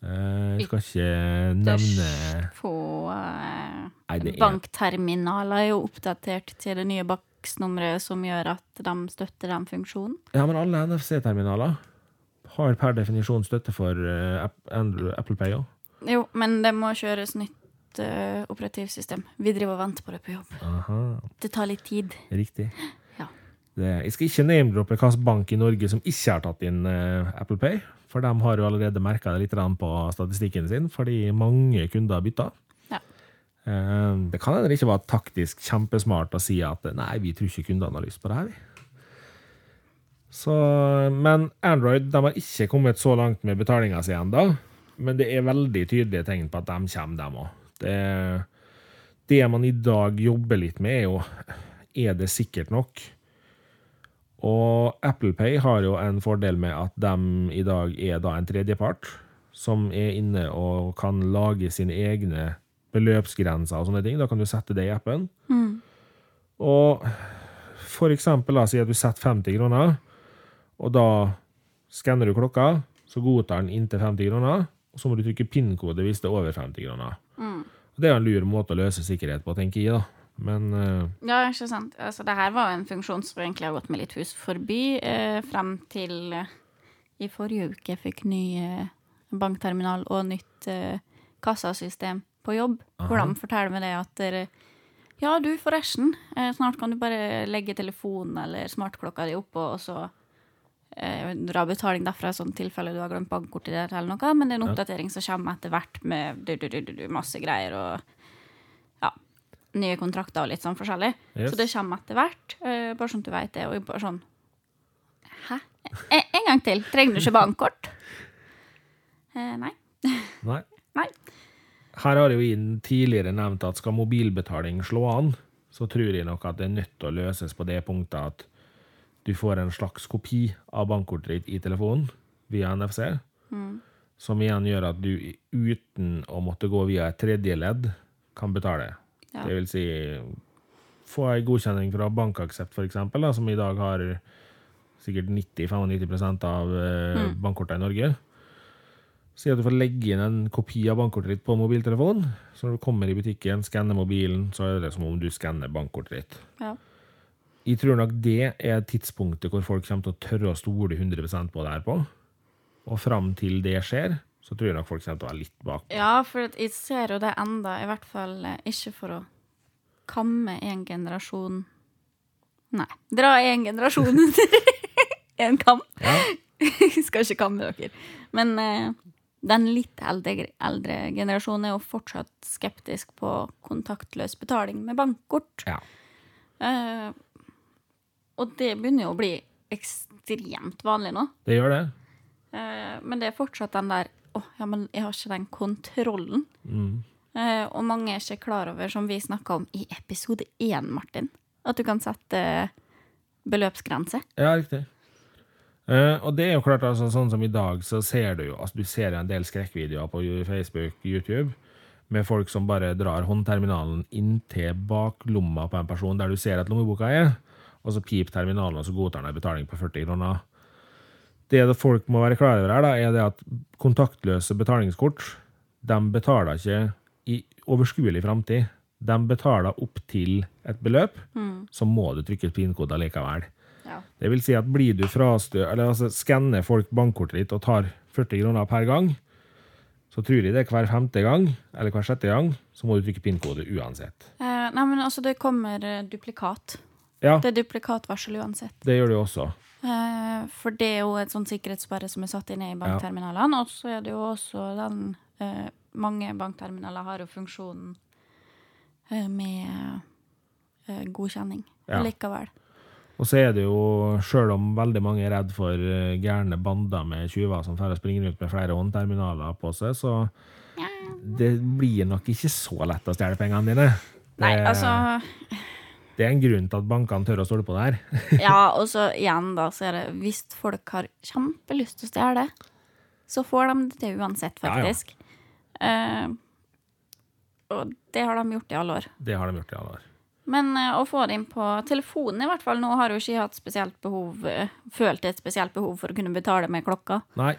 Eh, Jeg skal ikke nevne På eh, Nei, det er- bankterminaler er jo oppdatert til det nye bakstnummeret som gjør at de støtter den funksjonen. Ja, men alle NFC-terminaler har per definisjon støtte for eh, App- Android- Apple Pay òg. Jo, men det må kjøres nytt eh, operativsystem. Vi driver og venter på det på jobb. Det tar litt tid. Riktig. Ja. Det, jeg skal ikke name-droppe hvilken bank i Norge som ikke har tatt inn eh, Apple Pay, for de har jo allerede merka det litt grann på statistikken sin, fordi mange kunder bytta. Ja. Eh, Det kan hende det ikke var taktisk kjempesmart å si at nei, vi tror ikke kundene har lyst på det her. vi. Så, men Android de har ikke kommet så langt med betalinga si ennå. Men det er veldig tydelige tegn på at de kommer, dem òg. Det, det man i dag jobber litt med, er jo er det sikkert nok? Og Apple Pay har jo en fordel med at de i dag er da en tredjepart, som er inne og kan lage sine egne beløpsgrenser og sånne ting. Da kan du sette det i appen. Og for eksempel, la oss si at du setter 50 kroner, og da skanner du klokka, så godtar den inntil 50 kroner, og så må du trykke PIN-kode hvis det er over 50 kroner. Og Det er jo en lur måte å løse sikkerhet på, tenker jeg, da. Men eh, Ja, ikke sant. Altså, det her var jo en funksjon som egentlig har gått med litt hus forbi eh, frem til eh, i forrige uke fikk ny eh, bankterminal og nytt eh, kassasystem på jobb. Hvor de forteller meg det at dere Ja, du, forresten. Eh, snart kan du bare legge telefonen eller smartklokka di oppå, og så eh, dra betaling derfra i sånn tilfelle du har glemt bankkortet ditt eller noe. Men det er en oppdatering som kommer etter hvert med du, du, du, du, du, masse greier og ja, nye kontrakter og litt sånn forskjellig. Yes. Så det kommer etter hvert. eh, bare sånn at du veit det. Og bare sånn Hæ? En, en gang til. Trenger du ikke bankkort? Eh, nei. nei. Nei. Her har jo jeg tidligere nevnt at skal mobilbetaling slå an, så tror jeg nok at det er nødt til å løses på det punktet at du får en slags kopi av bankkortet ditt i telefonen via NFC, som igjen gjør at du uten å måtte gå via et tredje ledd kan betale. Ja. Det vil si få ei godkjenning fra BankAksept, for eksempel, da, som i dag har sikkert 90-95 av eh, bankkortene i Norge. Si at du får legge inn en kopi av bankkortet ditt på mobiltelefonen. Så når du kommer i butikken, skanner mobilen, så er det som om du skanner bankkortet ditt. Ja. Jeg tror nok det er tidspunktet hvor folk kommer til å tørre å stole 100 på det her på. Og fram til det skjer, så tror jeg nok folk kommer til å være litt bak. Ja, for at jeg ser jo det enda, i hvert fall eh, ikke for å kamme en generasjon Nei, dra en generasjon (laughs) under en kam. Skal ikke kamme dere. Men eh, den litt eldre, eldre generasjonen er jo fortsatt skeptisk på kontaktløs betaling med bankkort. Ja. Eh, og det begynner jo å bli ekstremt vanlig nå. Det gjør det. Eh, men det er fortsatt den der Å, ja, men jeg har ikke den kontrollen. Eh, og mange er ikke klar over, som vi snakka om i episode én, Martin, at du kan sette eh, beløpsgrense. Ja, riktig. Eh, og det er jo klart, altså, sånn som i dag, så ser du jo altså, Du ser en del skrekkvideoer på Facebook, YouTube, med folk som bare drar håndterminalen inntil baklomma på en person der du ser at lommeboka er, og så piper terminalen, og så godtar den en betaling på 40 kroner. Det det folk må være klar over her, da, er det at kontaktløse betalingskort de betaler ikke i overskuelig framtid. De betaler opp til et beløp, så må du trykke PIN-kode likevel. Ja. Det vil si at blir du frastø... Eller altså, skanner folk bankkortet ditt og tar 40 kroner per gang, så tror de det er hver femte gang, eller hver sjette gang, så må du trykke PIN-kode uansett. Eh, nei, men altså, det kommer eh, duplikat. Ja, Det er duplikatvarsel uansett. det gjør du også. Eh, for det er jo et sånn sikkerhetssperre som er satt inn i bankterminalene. Og så er det jo også den eh, Mange bankterminaler har jo funksjonen eh, med eh, godkjenning Ja. likevel. Og så er det jo, sjøl om veldig mange er redd for eh, gærne bander med tyver som færre springer ut med flere håndterminaler på seg, så det blir nok ikke så lett å stjele pengene dine. Det, Nei, altså det er en grunn til at bankene tør å stole på det her. Ja, og så igjen, da, så er det hvis folk har kjempelyst til å stjele, så får de det til uansett, Ja, ja. faktisk. Eh, og det har de gjort i alle år. Det har de gjort i alle år. Men eh, å få det inn på telefonen, i hvert fall nå, har jo ikke jeg hatt spesielt behov eh, Følt et spesielt behov for å kunne betale med klokka. Nei.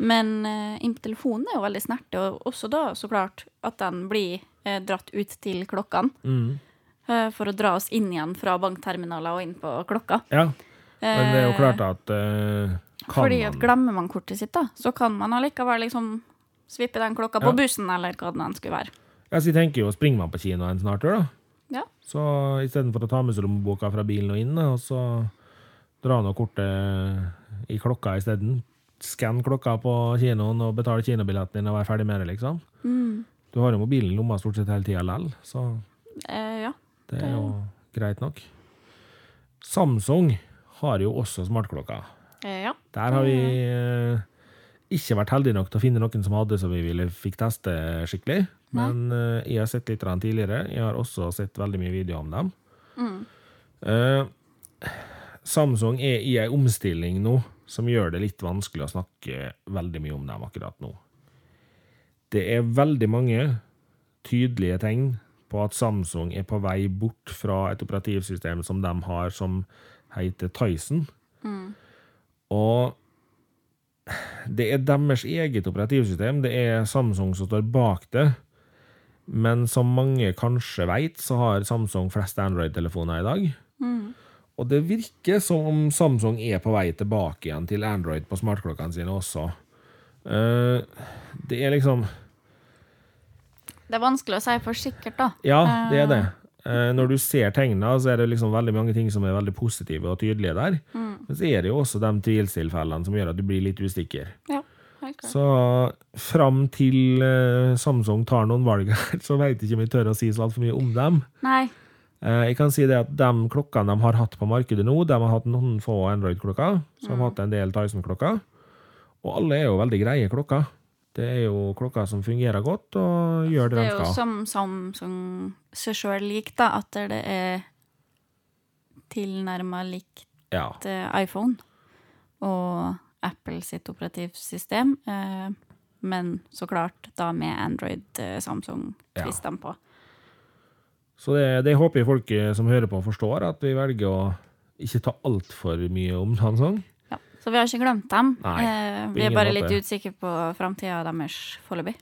Men eh, inn på telefonen er jo veldig snert, og også da så klart at den blir eh, dratt ut til klokkene. Mm. eh, for å dra oss inn igjen fra bankterminaler og inn på klokka. Ja. Men det er jo Eh, klart at eh, kan Fordi at man- glemmer man kortet sitt, da, så kan man allikevel liksom svippe den klokka på Ja. bussen, eller hva den enn skulle være. Ja, så jeg tenker jo, springer man på kino en snartur, da? Ja. Så istedenfor å ta med seg lommeboka fra bilen og inn, da, og så dra nå kortet i klokka isteden. Skann klokka på kinoen og betal kinobilletten din og vær ferdig med det, liksom. Du har jo mobilen i lomma stort sett hele tida lell, så Eh, ja. det er jo greit nok. Samsung har jo også smartklokker. Eh, ja. Der har vi eh, ikke vært heldige nok til å finne noen som hadde som vi ville fikk teste skikkelig. Men eh, jeg har sett litt av dem tidligere. Jeg har også sett veldig mye videoer om dem. Eh, Samsung er i ei omstilling nå som gjør det litt vanskelig å snakke veldig mye om dem akkurat nå. Det er veldig mange tydelige tegn på at Samsung er på vei bort fra et operativsystem som de har, som heter Tyson. Og det er deres eget operativsystem. Det er Samsung som står bak det. Men som mange kanskje vet, så har Samsung flest Android-telefoner i dag. Og det virker som om Samsung er på vei tilbake igjen til Android på smartklokkene sine også. Eh, det er liksom Det er vanskelig å si for sikkert, da. Ja, det er det. Eh, Når du ser tegna, så er det liksom veldig mange ting som er veldig positive og tydelige der. Men så er det jo også de tvilstilfellene som gjør at du blir litt usikker. Ja, helt klart. Så fram til eh, Samsung tar noen valg her, (laughs) så veit ikke om jeg tør å si så altfor mye om dem. Nei. Eh, jeg kan si det at De klokkene de har hatt på markedet nå, de har hatt noen få Android-klokker. Så har Mm. de hatt en del Tyson-klokker. Og alle er jo veldig greie klokker. Det er jo klokker som fungerer godt og gjør Det det er de jo skal. som Samsung seg sjøl liker, da, at det er tilnærma likt Ja. eh, iPhone og Apple sitt operativsystem. eh, Men så klart da med Ja. Android-Samsung-tvistene på. Så det, det håper jeg folk eh, som hører på, forstår, at vi velger å ikke ta altfor mye om Samsung. Ja. Så vi har ikke glemt dem. Nei, Eh, på vi er ingen bare måte. litt usikre på framtida deres foreløpig.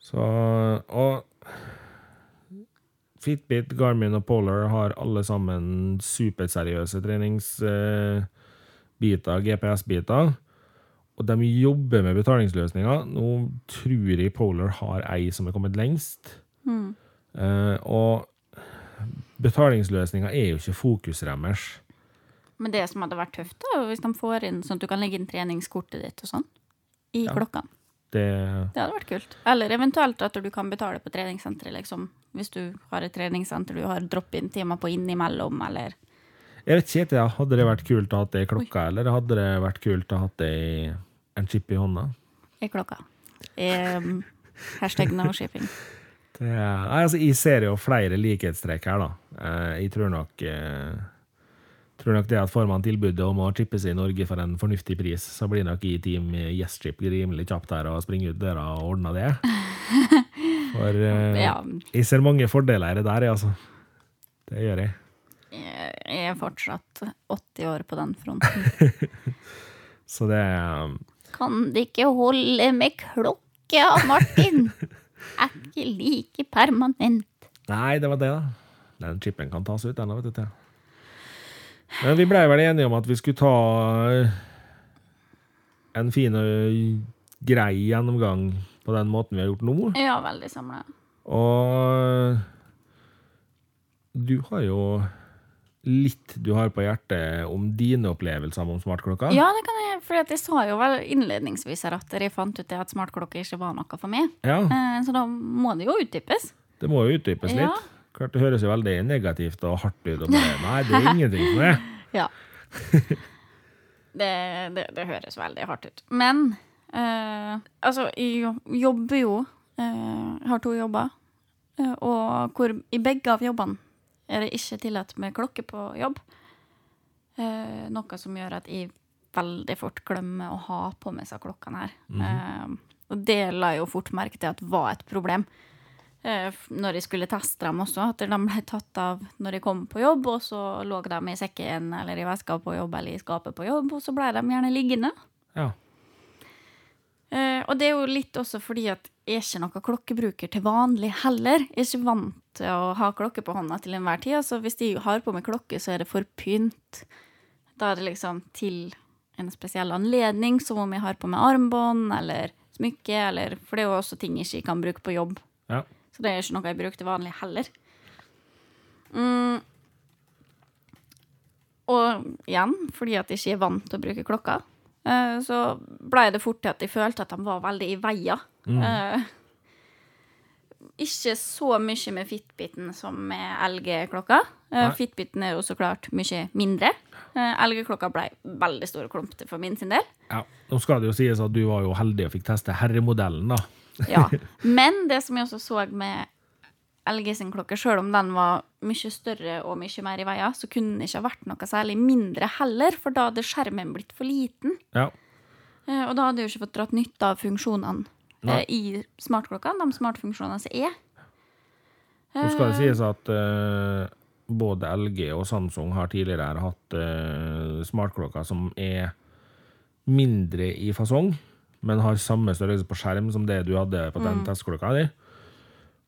Så, og Fitbit, Garmin og Polar har alle sammen superseriøse treningsbiter, GPS-biter. Og de jobber med betalingsløsninger. Nå tror jeg Polar har ei som er kommet lengst. Eh, og betalingsløsninger er jo ikke fokuset deres. Men det som hadde vært tøft, da, hvis de får inn sånn at du kan legge inn treningskortet ditt og sånn i klokka. Det Det hadde vært kult. Eller eventuelt at du kan betale på treningssenteret, liksom. Hvis du har et treningssenter du har drop-in-timer på innimellom, eller Jeg vet ikke, helt, ja. hadde det vært kult å ha det i klokka, eller hadde det vært kult å ha det i en chip i hånda? i klokka. Ehm, hashtag no shipping. Det er, nei, altså, jeg ser jo flere likhetstrekk her, da. Eh, Jeg tror nok, eh, tror nok det at får man tilbudet om å chippe seg i Norge for en fornuftig pris, så blir nok i Team Yes Chip rimelig kjapt her og springer ut døra og ordner det. For eh, Ja, jeg ser mange fordeler i det der, jeg, altså. Det gjør jeg. jeg er fortsatt 80 år på den fronten. Så det eh, er Kan det ikke holde med klokke, Martin? Er ikke like permanent. Nei, det var det, da. Den chipen kan tas ut, den da, vet du. Thea. Men vi blei vel enige om at vi skulle ta eh, en fin og grei gjennomgang på den måten vi har gjort nå. Ja, veldig samla. Og du har jo litt du har på hjertet om dine opplevelser om smartklokka. Ja, det kan jeg, for jeg sa jo vel innledningsvis her at jeg fant ut det at smartklokke ikke var noe for meg. Ja, Eh, Så da må det jo utdypes. det må jo utdypes Ja. litt. Klart det høres jo veldig negativt og hardt ut. Og bare, nei, det er ingenting for meg. Ja. (laughs) det, det, det høres veldig hardt ut. Men eh, altså, jeg jo- jobber jo eh, Har to jobber. eh, og hvor i begge av jobbene er det ikke tillatt med klokke på jobb. Eh, noe som gjør at jeg veldig fort glemmer å ha på med seg klokkene her. Eh, og det la jeg jo fort merke til at var et problem. Eh, f- når jeg skulle teste dem også, at de ble tatt av når jeg kom på jobb, og så lå de i sekken eller i veska på jobb eller i skapet på jobb, og så ble de gjerne liggende. Ja. Eh, og det er jo litt også fordi at jeg er ikke noen klokkebruker til vanlig heller. Jeg er ikke vant til å ha klokke på hånda til enhver tid. Så hvis jeg har på meg klokke, så er det for pynt. Da er det liksom til en spesiell anledning, som om jeg har på meg armbånd eller smykke, eller For det er jo også ting jeg ikke kan bruke på jobb. ja. Så det er ikke noe jeg bruker til vanlig heller. Mm. Og igjen, fordi at jeg ikke er vant til å bruke klokka, eh, så blei det fort til at jeg følte at de var veldig i veia. Eh, Ikke så mye med Fitbiten som med LG-klokka. Eh, Nei. Fitbiten er jo så klart mye mindre. Eh, LG-klokka blei veldig stor og klumpete for min sin del. ja. Nå skal det jo sies at du var jo heldig og fikk teste herremodellen, da. Ja. Men det som jeg også så med LG sin klokke, sjøl om den var mye større og mye mer i veia, så kunne den ikke ha vært noe særlig mindre heller, for da hadde skjermen blitt for liten. Ja. Eh, Og da hadde jeg jo ikke fått dratt nytte av funksjonene Nei. eh, i smartklokka, de smartfunksjonene som er. Nå skal det sies at eh, både LG og Samsung har tidligere her hatt eh, smartklokker som er mindre i fasong, men har samme størrelse på skjerm som det du hadde på den testklokka di,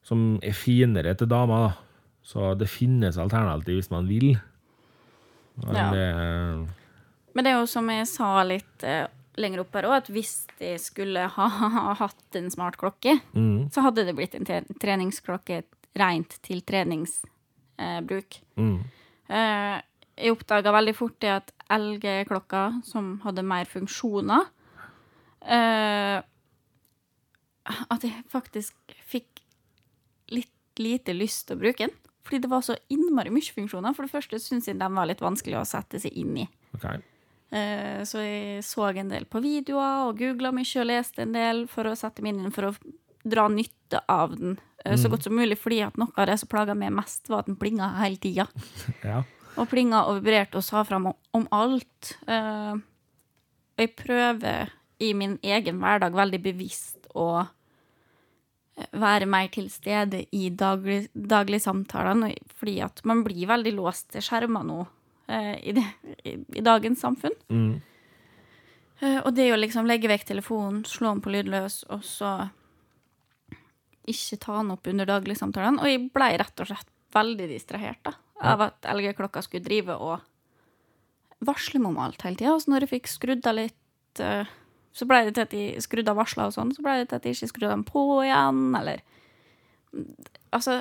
som er finere til damer. da. Så det finnes alternativ hvis man vil. Men Ja. det, eh, Men det er jo som jeg sa litt eh, lenger opp her òg, at hvis jeg skulle ha, (laughs) hatt en smartklokke, eh, Mm. så hadde det blitt en tre- treningsklokke rent til treningsbruk. Mm. Eh, jeg oppdaga veldig fort det at LG-klokka, som hadde mer funksjoner eh, At jeg faktisk fikk litt lite lyst til å bruke den. Fordi det var så innmari mye funksjoner. For det første syns jeg den var litt vanskelig å sette seg inn i. ok. Eh, Så jeg så en del på videoer og googla mye og leste en del for å sette meg inn i den, for å dra nytte av den eh, så godt som mulig. Fordi at noe av det som plaga meg mest, var at den plinga hele tida. Ja. Og plinga og vibrerte og sa fram om, om alt. Eh, Og jeg prøver i min egen hverdag veldig bevisst å eh, være mer til stede i daglig, dagligsamtalene, og- fordi at man blir veldig låst til skjermer nå eh, i, det, i, i dagens samfunn. Mm. Eh, Og det å liksom legge vekk telefonen, slå den på lydløs, og så ikke ta den opp under dagligsamtalene. Og jeg blei rett og slett veldig distrahert da, av at LG-klokka skulle drive og varsle meg om alt hele tida. Og så når jeg fikk skrudd av litt eh, Så blei det til at jeg skrudde av varsler og sånn, så blei det til at jeg ikke skrudde dem på igjen, eller Altså,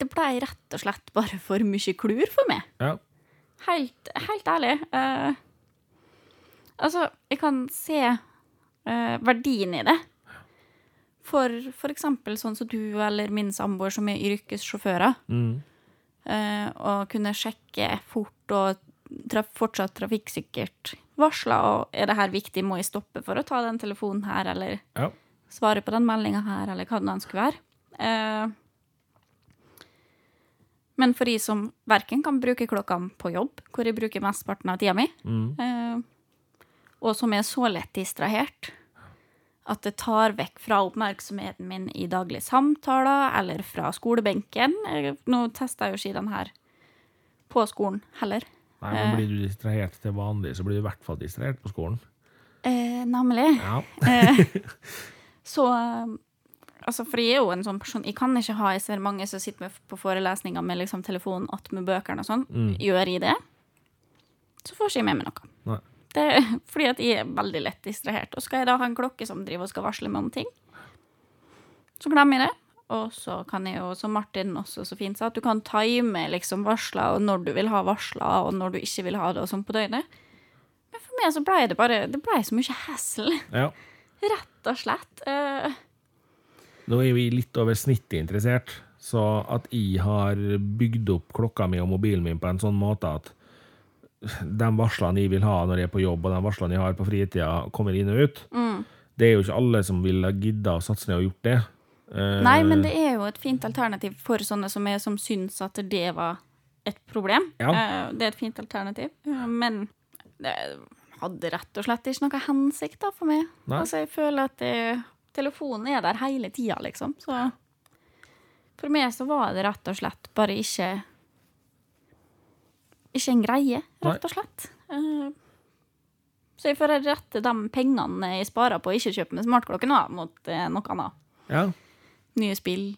det blei rett og slett bare for mye klur for meg. ja. Helt, helt ærlig. eh, altså, jeg kan se eh, verdien i det. For, for eksempel sånn som du eller min samboer som er yrkessjåfører. Mm. eh, og kunne sjekke fort og traf, fortsatt trafikksikkert varsla. Og er det her viktig, må jeg stoppe for å ta den telefonen her, eller ja. svare på den meldinga her, eller hva det nå enn skulle være. Eh, men for de som verken kan bruke klokkene på jobb, hvor jeg bruker mesteparten av tida mi, Mm. eh, og som er så lett distrahert at det tar vekk fra oppmerksomheten min i daglige samtaler eller fra skolebenken Eh, Nå tester jeg jo ikke den her på skolen heller. Nei, men blir du distrahert til vanlig, så blir du i hvert fall distrahert på skolen. Eh, nemlig. Ja. Så eh, Altså, for jeg er jo en sånn person Jeg kan ikke ha Jeg ser mange som sitter med, på forelesninger med liksom telefonen attmed bøkene og sånn. Gjør jeg det, så får ikke jeg med meg noe. Nei. Det, fordi at jeg er (laughs) veldig lett distrahert. Og skal jeg da ha en klokke som driver og skal varsle meg om ting, så glemmer jeg det. Og så kan jeg jo, som Martin også så fint sa, at du kan time liksom varsler, og når du vil ha varsler, og når du ikke vil ha det, og sånn på døgnet. Men for meg så blei det bare Det blei så mye hassle, (laughs) ja. rett og slett. Eh, Nå er vi litt over snittet interessert, så at jeg har bygd opp klokka mi og mobilen min på en sånn måte at de varslene jeg vil ha når jeg er på jobb, og de varslene jeg har på fritida, kommer inn og ut. Det er jo ikke alle som ville gidda å satse ned og gjort det. Eh, Nei, men det er jo et fint alternativ for sånne som, er, som syns at det var et problem. Ja. Eh, Det er et fint alternativ, Eh, men det, hadde rett og slett ikke noe hensikt da, for meg. Nei. Altså, jeg føler at det, telefonen er der hele tida, liksom. Så for meg så var det rett og slett bare ikke Ikke en greie, Nei. rett og slett. Eh, Så jeg får rette de pengene jeg sparer på å ikke kjøpe med smartklokke nå, mot eh, noe annet. Ja. Nye spill,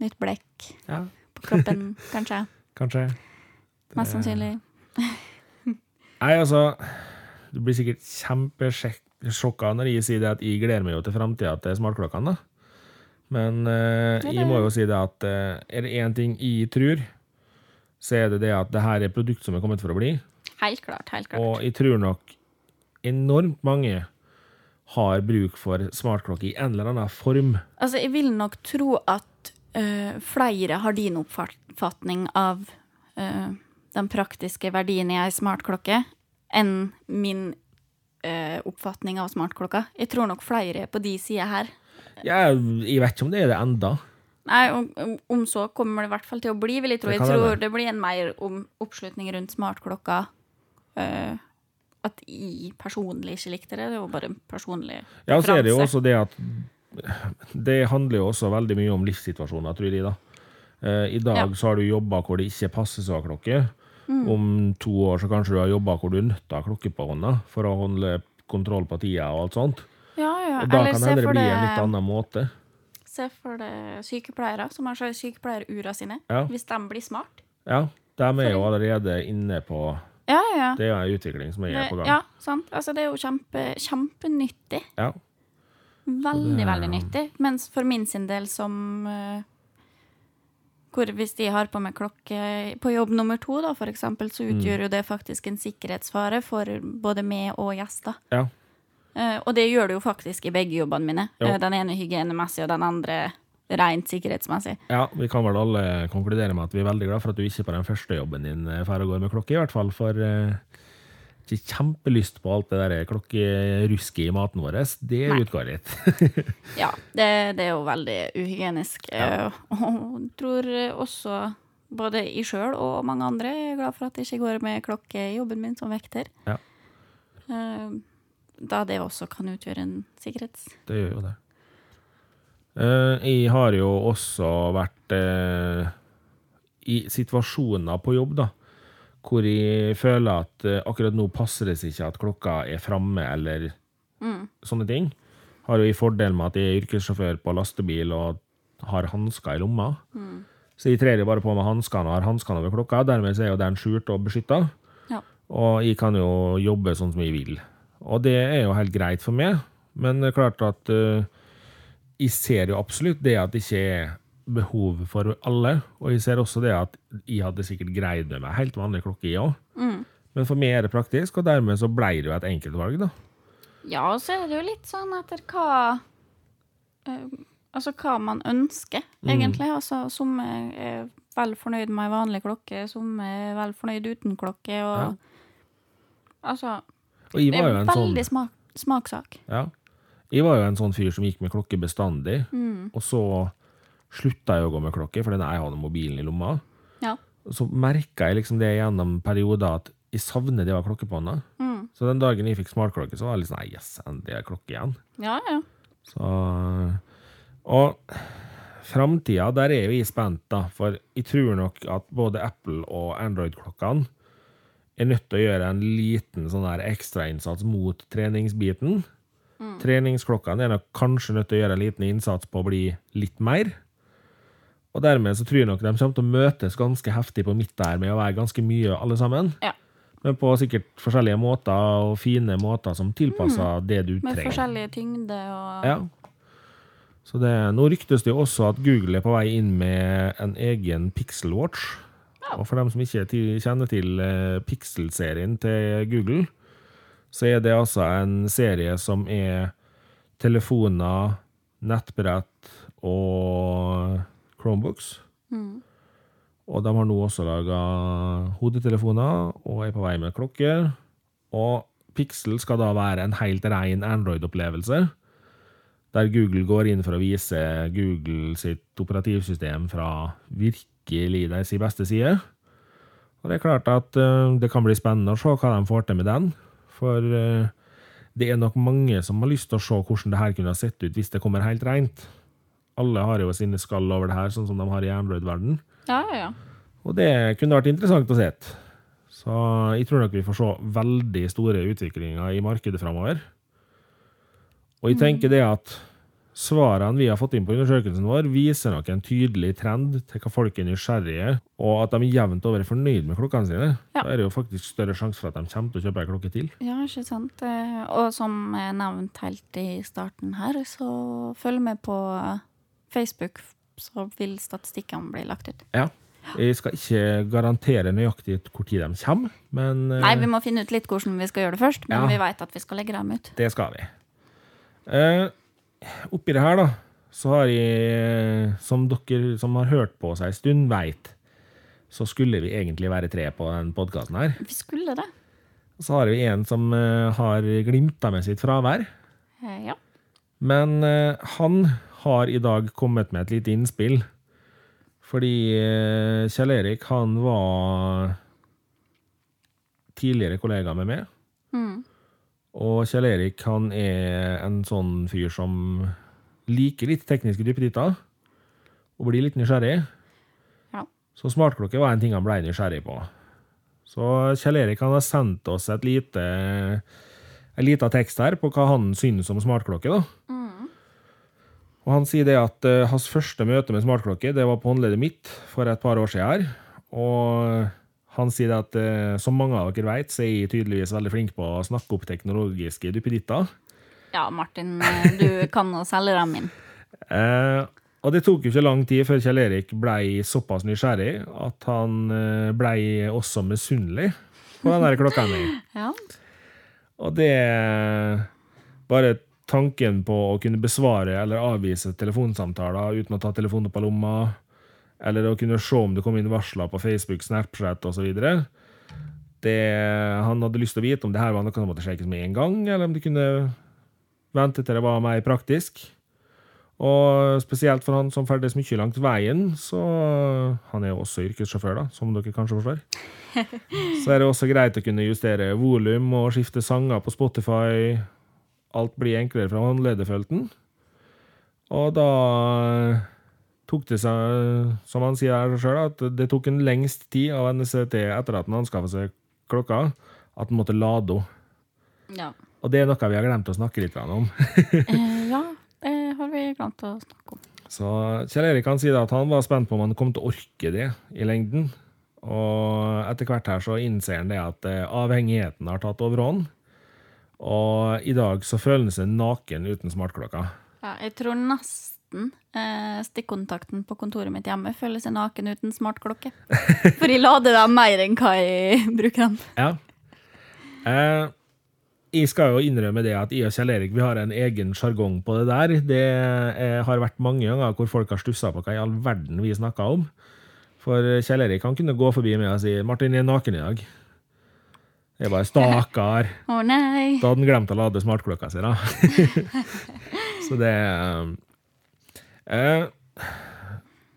nytt blekk ja. på kroppen, kanskje. Kanskje. Mest sannsynlig. Nei, altså Du blir sikkert kjempesjokka når jeg sier det at jeg gleder meg jo til framtida til smartklokkene, da. Men eh, Ja, det- jeg må jo si det at eh, er det én ting jeg tror, så er det det at det her er produkt som er kommet for å bli. Helt klart. helt klart. Og jeg tror nok enormt mange har bruk for smartklokke i en eller annen form. Altså, jeg vil nok tro at eh, flere har din oppfatning av eh, den praktiske verdien i ei smartklokke enn min eh, oppfatning av smartklokka. Jeg tror nok flere er på de sider her. Jeg, jeg vet ikke om det er det enda. Nei, om, om- om så kommer det i hvert fall til å bli, vil jeg tro. Det Jeg kan tror hende. det blir en mer om, oppslutning rundt smartklokka. eh, at jeg personlig ikke likte det. Det er jo bare en personlig Ja, og så er det jo preferanse. også det at Det handler jo også veldig mye om livssituasjoner, tror jeg, da. Eh, I dag Ja. Mm. så har du jobber hvor det ikke passer seg å ha klokke. Om to år så kanskje du har jobber hvor du er nødt til å ha klokke på hånda for å holde kontroll på tida og alt sånt. Ja, ja. Og da Eller kan se det hende det for bli en deg- litt annen måte. Se for deg sykepleiere som har seg sykepleierura sine. Ja. Hvis de blir smart. Ja, de er jo allerede inne på Ja, ja. Det er jo en utvikling som er på gang. ja, sant. Altså, det er jo kjempe, kjempenyttig. Ja. Veldig, veldig nyttig. Mens for min sin del som eh, hvor Hvis de har på meg klokke på jobb nummer to, da, for eksempel, så utgjør jo det faktisk en sikkerhetsfare for både meg og gjester. ja. Eh, og det gjør det jo faktisk i begge jobbene mine. Jo. Eh, den ene hygienemessig, og den andre rent sikkerhetsmessig. Ja, vi kan vel alle konkludere med at vi er veldig glad for at du ikke på den første jobben din eh, drar og går med klokke, i hvert fall. For eh, ikke kjempelyst på alt det der klokkerusket i maten vår. Det Nei. utgår litt. Ja, det, det er jo veldig uhygienisk. eh, Og tror også både jeg sjøl og mange andre er glad for at jeg ikke går med klokke i jobben min som vekter. Ja. Eh, Da det også kan utgjøre en sikkerhets... Det gjør jo det. Eh, jeg har jo også vært eh, i situasjoner på jobb, da, hvor jeg føler at eh, akkurat nå passer det seg ikke at klokka er framme, eller sånne ting. Har jo i fordel med at jeg er yrkessjåfør på lastebil og har hansker i lomma. Så jeg trer jo bare på med hanskene og har hanskene over klokka. Dermed så er jo den skjult og beskytta. Ja. Og jeg kan jo jobbe sånn som jeg vil. Og det er jo helt greit for meg, men det er klart at eh, jeg ser jo absolutt det at det ikke er behov for alle, og jeg ser også det at jeg hadde sikkert greid med meg helt vanlig klokke, jeg òg. Mm. Men for meg er det praktisk, og dermed så blei det jo et enkeltvalg, da. Ja, og så er det jo litt sånn etter hva eh, Altså hva man ønsker, Mm. egentlig. Altså, som er- er vel fornøyd med ei vanlig klokke, som er vel fornøyd uten klokke, og Ja. Altså, Og jeg det var er jo en sånn veldig smak, smakssak. Ja. Jeg var jo en sånn fyr som gikk med klokke bestandig, og så slutta jeg å gå med klokke, for den jeg hadde mobilen i lomma. Ja. Og Så merka jeg liksom det gjennom perioder at jeg savner det å ha klokke på hånda. Så den dagen jeg fikk smartklokke, så var det litt sånn «Nei, yes, endelig er det klokke igjen. Ja, ja. Så, og framtida, der er jo jeg spent, da. For jeg tror nok at både Apple og Android-klokkene er nødt til å gjøre en liten sånn der ekstrainnsats mot treningsbiten. Mm. Treningsklokkene er nok kanskje nødt til å gjøre en liten innsats på å bli litt mer. Og dermed så tror jeg nok de kommer til å møtes ganske heftig på midt der med å være ganske mye alle sammen. Ja. Men på sikkert forskjellige måter og fine måter som tilpasser det du Mm. Med trenger. forskjellige tyngde og Ja. Så det, nå ryktes det jo også at Google er på vei inn med en egen Pixel Watch. Og for dem som ikke ti- kjenner til eh, Pixel-serien til Google, så er det altså en serie som er telefoner, nettbrett og Chromebooks. Og de har nå også laga hodetelefoner og er på vei med klokker. Og Pixel skal da være en helt rein Android-opplevelse der Google går inn for å vise Google sitt operativsystem fra virkelig deres beste side. Og det er klart at eh, det kan bli spennende å se hva de får til med den. For eh, det er nok mange som har lyst til å se hvordan det her kunne ha sett ut hvis det kommer helt rent. Alle har jo sine skall over det her, sånn som de har i jernblødverden. Ja, ja, ja. Og det kunne vært interessant å se. Så jeg tror nok vi får se veldig store utviklinger i markedet framover. Mm. Og jeg tenker det at svarene vi har fått inn på undersøkelsen vår, viser nok en tydelig trend til hva folk er nysgjerrige, og at de jevnt over er fornøyd med klokkene sine. Ja. Da er det jo faktisk større sjanse for at de kommer til å kjøpe ei klokke til. Ja, ikke sant. Eh, Og som eh, nevnt helt i starten her, så følg med på eh, Facebook, f- så vil statistikkene bli lagt ut. Ja. Jeg skal ikke garantere nøyaktig hvor tid de kommer, men eh, Nei, vi må finne ut litt hvordan vi skal gjøre det først, men Ja. vi veit at vi skal legge dem ut. Det skal vi. Eh, oppi det her, da, så har jeg, som dere som har hørt på oss ei stund, veit, så skulle vi egentlig være tre på den podkasten her. Vi skulle det. Så har vi en som eh, har glimta med sitt fravær. Eh, Ja. Men eh, han har i dag kommet med et lite innspill. Fordi eh, Kjell Erik, han var tidligere kollega med meg. Mm. Og Kjell Erik, han er en sånn fyr som liker litt tekniske duppeditter. Og blir litt nysgjerrig. Ja. Så smartklokke var en ting han ble nysgjerrig på. Så Kjell Erik han har sendt oss et lite, en liten tekst her på hva han synes om smartklokke. da. Og han sier det at eh, hans første møte med smartklokke, det var på håndleddet mitt for et par år siden her. Og han sier det at eh, som mange av dere vet, så er jeg tydeligvis veldig flink på å snakke opp teknologiske duppeditter. ja, Martin, eh, du kan å selge dem inn. Eh, og det tok jo ikke lang tid før Kjell Erik blei såpass nysgjerrig at han eh, blei også misunnelig på den der klokka mi. Ja. Og det Bare tanken på å kunne besvare eller avvise telefonsamtaler uten å ta telefonen opp av lomma, eller å kunne se om det kom inn varsler på Facebook, Snapchat osv. Han hadde lyst til å vite om det her var noe som måtte sjekkes med en gang, eller om det kunne vente til det var mer praktisk. Og spesielt for han som ferdes mye langs veien, så Han er jo også yrkessjåfør, da, som dere kanskje forstår. Så er det også greit å kunne justere volum og skifte sanger på Spotify. Alt blir enklere fra håndlederfølten. Og da tok det seg, som han sier her sjøl, at det tok en lengst tid av NCT etter at han anskaffa seg klokka, at han måtte lade henne. Ja. Og det er noe vi har glemt å snakke litt om. Eh, ja, det har vi glemt å snakke om. Så Kjell Erik han sier da at han var spent på om han kom til å orke det i lengden. Og etter hvert her så innser han det at eh, avhengigheten har tatt overhånd. Og i dag så føler han seg naken uten smartklokka. Ja, jeg tror nesten eh, stikkontakten på kontoret mitt hjemme føler seg naken uten (laughs) smartklokke. For jeg lader dem mer enn hva jeg bruker dem. Ja. Eh, jeg skal jo innrømme det at jeg og Kjell Erik vi har en egen sjargong på det der. Det eh, har vært mange ganger hvor folk har stussa på hva i all verden vi snakker om. For Kjell Erik han kunne gå forbi meg og si 'Martin, jeg er naken i dag'. Jeg bare 'Stakkar'. Å nei. Da hadde han glemt å lade smartklokka si, da. (laughs) så det eh,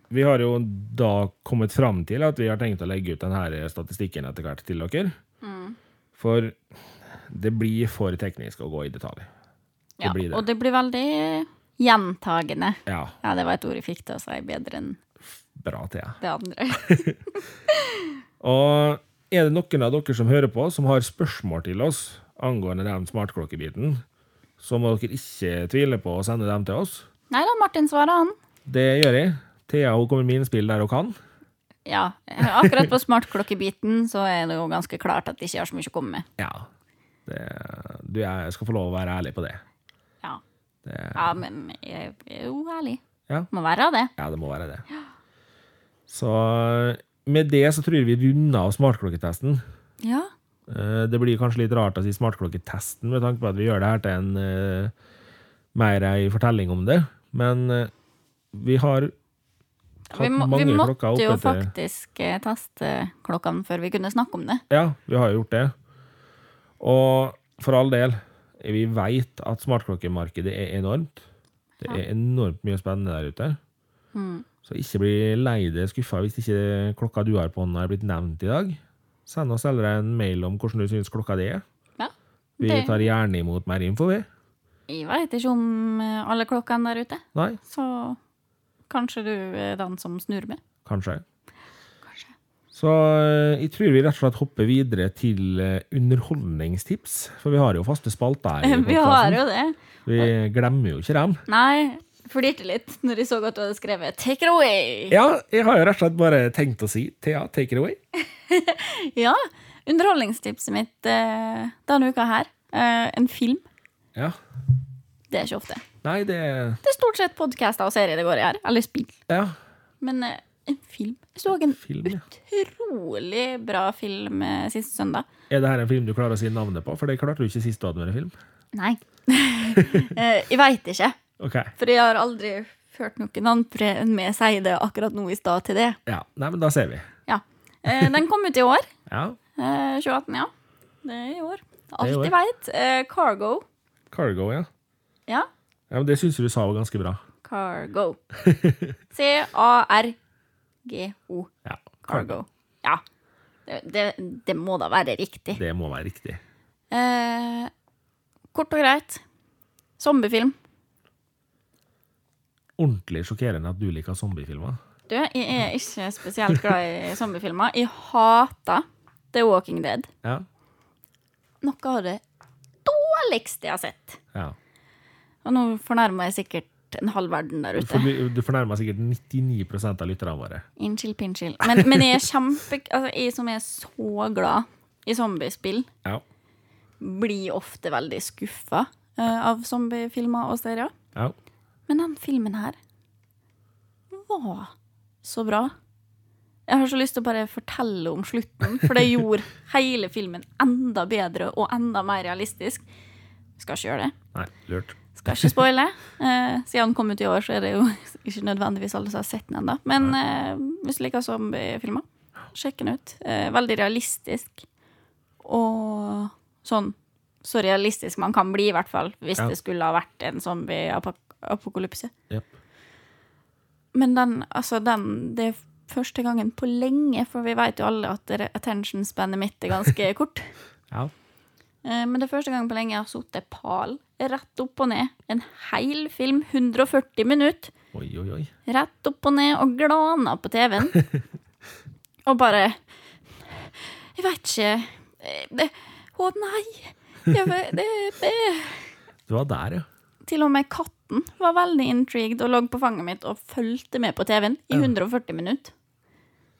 Vi har jo da kommet fram til at vi har tenkt å legge ut denne statistikken etter hvert til dere. For det blir for teknisk å gå i detalj. Det Ja, blir det. Og det blir veldig gjentagende. Ja, Ja, det var et ord jeg fikk til å si bedre enn bra, Thea. det (laughs) andre. Og er det noen av dere som hører på, som har spørsmål til oss angående den smartklokkebiten, så må dere ikke tvile på å sende dem til oss. Nei da, Martin svarer han. Det gjør jeg. Thea hun kommer med innspill der hun kan. Ja, akkurat på smartklokkebiten så er det jo ganske klart at de ikke har så mye å komme med. Ja. Det, du, jeg skal få lov å være ærlig på det. Ja, det ja men jeg er jo ærlig. Ja. Må være det. ja, det må være det. Så med det så tror jeg vi runder av smartklokketesten. Ja. Eh, Det blir kanskje litt rart å si smartklokketesten med tanke på at vi gjør det her til en eh, mer ei fortelling om det, men eh, vi har Vi, hatt må, mange vi klokker måtte jo oppe til faktisk eh, teste klokkene før vi kunne snakke om det. Ja, vi har jo gjort det. Og for all del, vi veit at smartklokkemarkedet er enormt. Det er enormt mye spennende der ute. Mm. Så ikke bli lei deg skuffa hvis ikke klokka du har på hånda er blitt nevnt i dag. Send oss heller en mail om hvordan du syns klokka di er. Ja. Vi Det- tar gjerne imot mer info, vi. Jeg veit ikke om eh, alle klokkene der ute, Nei, så kanskje du er den som snur med. kanskje. Kanskje. Så eh, jeg tror vi rett og slett hopper videre til eh, underholdningstips, for vi har jo faste spalter her. i (laughs) Vi har jo det. podcasten. Vi glemmer jo ikke dem. Nei, flirte litt når jeg så at du hadde skrevet 'Take it away'. Ja, jeg har jo rett og slett bare tenkt å si Thea, take it away. (laughs) Ja. Underholdningstipset mitt eh, denne uka her, eh, en film, Ja. det er ikke ofte. Nei, det Det er stort sett podcaster og serier det går i her. Eller spill. Ja. Men eh, en film Jeg så en Film, ja. utrolig bra film eh, sist søndag. Er det her en film du klarer å si navnet på? For det klarte du ikke sist du hadde vært film. Nei. (laughs) Eh, jeg veit ikke. Ok. For jeg har aldri hørt noen andre enn meg si det akkurat nå i stad til det. Ja. Nei, men da ser vi. Ja. Eh, den kom ut i år. Ja. Eh, 2018, ja. Det er i år. er i Alt år. jeg veit. Eh, cargo. Cargo, ja. Ja. ja men det syns jeg du sa var ganske bra. Cargo. C-a-r-g-o. Ja. Cargo. Ja. Det, det, det må da være riktig. Det må være riktig. Eh, kort og greit. Zombiefilm. Ordentlig sjokkerende at du liker zombiefilmer. Du, jeg er ikke spesielt glad i zombiefilmer. Jeg hater The Walking Dead. Ja. Noe av det dårligste jeg har sett. ja. Og nå fornærmer jeg sikkert en halv verden der ute. For du, du fornærmer sikkert 99 av lytterne våre. Innskyld, pinnskyld. Men, men jeg er kjempe... Altså, jeg som er så glad i zombiespill, Ja. blir ofte veldig skuffa av zombiefilmer og serier. ja. Men den filmen her var så bra. Jeg har så lyst til å bare fortelle om slutten, for det gjorde hele filmen enda bedre og enda mer realistisk. Skal ikke gjøre det. Nei, lurt. Skal ikke spoile. Eh, siden den kom ut i år, så er det jo (laughs) ikke nødvendigvis alle som har sett den ennå. Men eh, hvis du liker zombiefilmer, sjekk den ut. Eh, veldig realistisk. Og sånn så realistisk man kan bli, i hvert fall, hvis Ja. det skulle ha vært en zombieapokalypse. Jepp. Men den, altså den, det er første gangen på lenge, for vi vet jo alle at re- attention-spannet mitt er ganske kort. Ja. Eh, Men det er første gangen på lenge jeg har sittet pal rett opp og ned. En hel film, 140 minutter, Oi, oi, oi. rett opp og ned og glana på TV-en. Og bare Jeg veit ikke eh, det, Å nei! Jeg, vet- det, det. Du var der, ja. Til og med katten var veldig intrigued og lå på fanget mitt og fulgte med på TV-en i 140 minutter.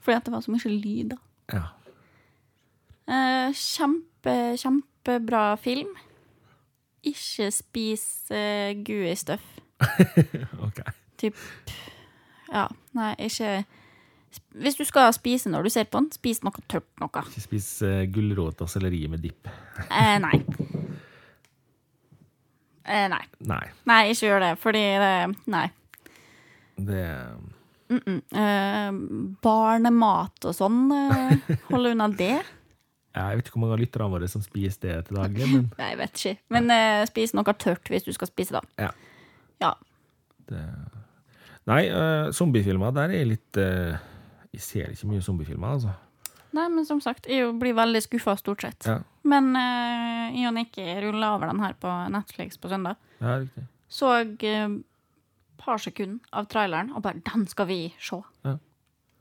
Fordi at det var så mye lyder. ja. Eh, kjempe, kjempebra film. Ikke spis uh, gooey-stuff. (laughs) Ok. Typ Ja, nei, ikke Hvis du skal spise når du ser på den, spis noe tørt noe. Ikke spis eh, gulrot og selleri med dipp. Eh, nei. Eh, nei. Nei. Nei, ikke gjør det, fordi det Nei. Det Eh, barnemat og sånn, (laughs) eh, holde unna det. Jeg vet ikke hvor mange av lytterne våre som spiser det til daglig, men Nei, jeg vet ikke. Men eh, spis noe tørt hvis du skal spise, da. ja. Ja. Nei, eh, zombiefilmer, der er jeg litt eh, Jeg ser ikke mye zombiefilmer, altså. Nei, men som sagt, jeg jo blir veldig skuffa stort sett. Ja. Men uh, jeg og Nikki rulla over den her på Netflix på søndag. Ja, riktig. Så et par sekunder av traileren og bare 'Den skal vi se'. Ja.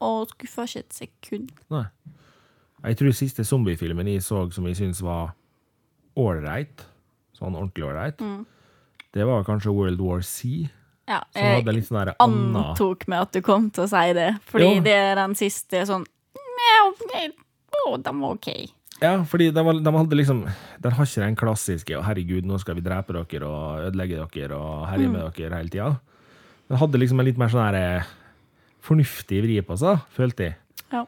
Og skuffa ikke et sekund. Nei. Jeg tror siste zombiefilmen jeg så som jeg syns var ålreit, sånn ordentlig ålreit, det var kanskje World War C. Ja, Som hadde litt sånn der anna antok med at du kom til å si det, fordi Jo. det er den siste sånn «Nja, ok, Å, den var OK. Ja, fordi de, var- de hadde liksom De har ikke den klassiske 'Å, herregud, nå skal vi drepe dere og ødelegge dere' og herje med Mm. dere hele tida. De hadde liksom en litt mer sånn her eh, fornuftig vri på seg, følte jeg. Ja.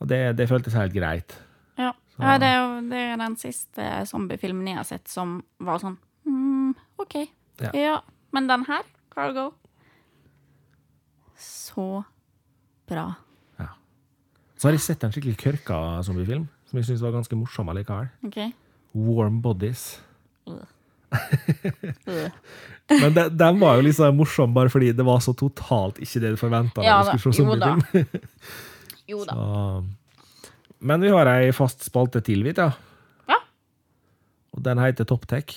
Og det, det føltes helt greit. Ja, ja det, er, jo- det er den siste zombiefilmen jeg har sett som var sånn mm, OK. Ja. Ja. Men den her, Cargo Så bra. Så har jeg sett en skikkelig kørka zombiefilm, som jeg syns var ganske morsom allikevel. OK? Warm Bodies. Øh. Øh. Men de- den var jo liksom morsom bare fordi det var så totalt ikke det du forventa. Ja du da, skulle se jo da. zombiefilm. (laughs) Jo da. Ah. Men vi har ei fast spalte til, vi, da. Ja. Og den heter TopTech.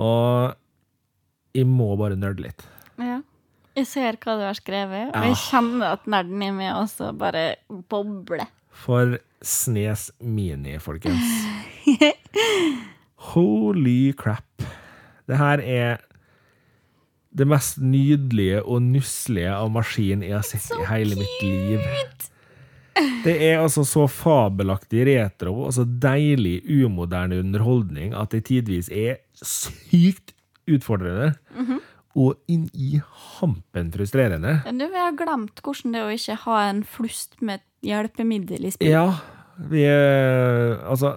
Og jeg må bare nerde litt. Ja. Jeg ser hva du har skrevet, Ah. og jeg kjenner at nerden i meg også bare bobler. For Snes Mini, folkens. Holy crap. Det her er det mest nydelige og nusselige av maskin jeg har sett i hele mitt liv. Det er altså så fabelaktig retro og så deilig umoderne underholdning at det tidvis er sykt utfordrende og inn i hampen frustrerende. Men Du, vi har glemt hvordan det er å ikke ha en flust med hjelpemiddel i spill. Ja, vi eh, Altså,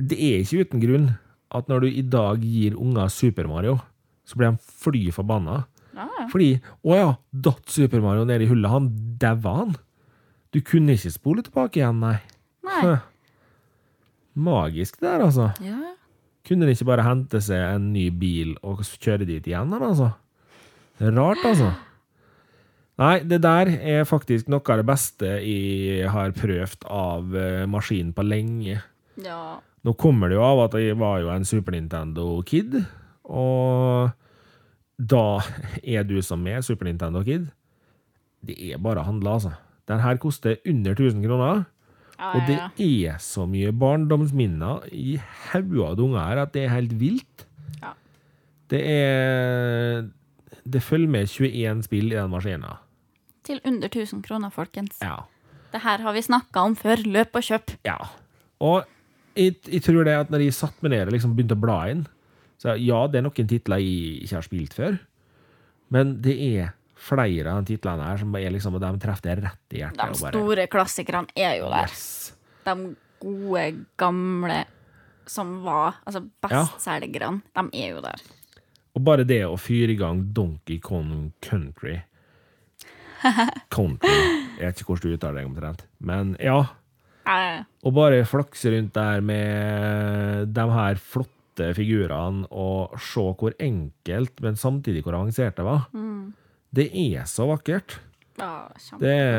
det er ikke uten grunn at når du i dag gir unger Super Mario, så blir de fly forbanna. Ja, ja. Fordi Å ja, datt Super Mario ned i hullet? Han daua, han? Du kunne ikke spole tilbake igjen, nei. Nei. Hø. Magisk det der, altså. Ja. Kunne de ikke bare hente seg en ny bil og kjøre dit igjen, eller altså? Det er Rart, altså. Nei, det der er faktisk noe av det beste jeg har prøvd av eh, maskin på lenge. ja. Nå kommer det jo av at jeg var jo en Super Nintendo-kid, og da er du som er Super Nintendo-kid. Det er bare å handle, altså. Den her koster under 1000 kroner. Ja, Og det ja, er så mye barndomsminner i hauga av unger her at det er helt vilt. Ja. Det er Det følger med 21 spill i den maskina. ja. Til under 1000 kroner, folkens. Ja. Det her har vi snakka om før. Løp og kjøp. ja. Og jeg, jeg tror det at når jeg satt meg ned og liksom begynte å bla inn så Ja, det er noen titler jeg ikke har spilt før, men det er flere av de titlene her som er liksom, og de treffer det rett i hjertet. De og bare, store klassikerne er jo der. Yes. De gode, gamle som var Altså bestselgerne. De er jo der. Og bare det å fyre i gang Donkey Kong Country Country. Jeg vet ikke hvordan du uttaler det omtrent. Men ja. Eh, Og bare flakse rundt der med de her flotte figurene og se hvor enkelt, men samtidig hvor avansert det var. Det er så vakkert. Ja, kjempe. Det er,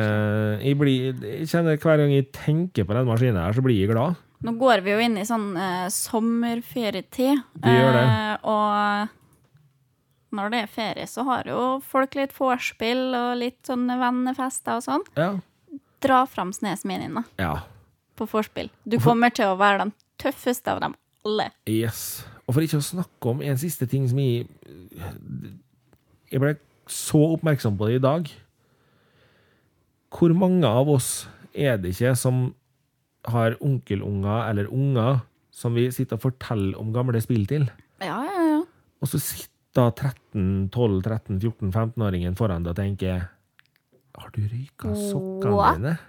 jeg, blir, jeg kjenner Hver gang jeg tenker på den maskinen her, så blir jeg glad. Nå går vi jo inn i sånn eh, sommerferietid. Vi gjør det. eh, og når det er ferie, så har jo folk litt vorspiel og litt sånne vennefester og sånn. Ja. Dra fram Snesminina ja. på vorspiel. Du kommer til å være den tøffeste av dem alle. Yes. Og for ikke å snakke om en siste ting som jeg Jeg ble så oppmerksom på det i dag. Hvor mange av oss er det ikke som har onkelunger eller unger som vi sitter og forteller om gamle spill til? Ja, ja, ja. Og så sitter 13-12-13-14-15-åringen foran deg og tenker Har du røyka sokkene What? dine?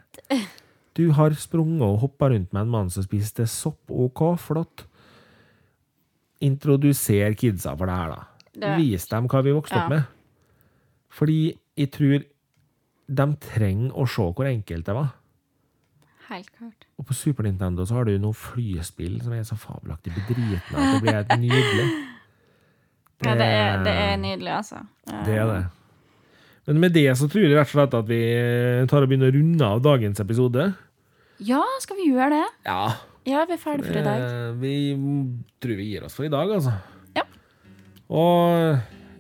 Du har sprunget og hoppa rundt med en mann som spiste sopp. OK, flott. Introduser kidsa for det her, da. Det- Vis dem hva vi vokste Ja. opp med. Fordi jeg tror de trenger å se hvor enkelt det var. Helt klart. Og på Super Nintendo så har du noen flyspill som er så fabelaktig bedritne at det blir helt nydelig. Ja, det er, det er nydelig, altså. Eh, Det er det. Um, Men med det så tror jeg rett og slett at vi eh, tar og begynner å runde av dagens episode. Ja, skal vi gjøre det? Ja. Ja, vi er ferdig for i dag. Eh, Vi tror vi gir oss for i dag, altså. Ja. Og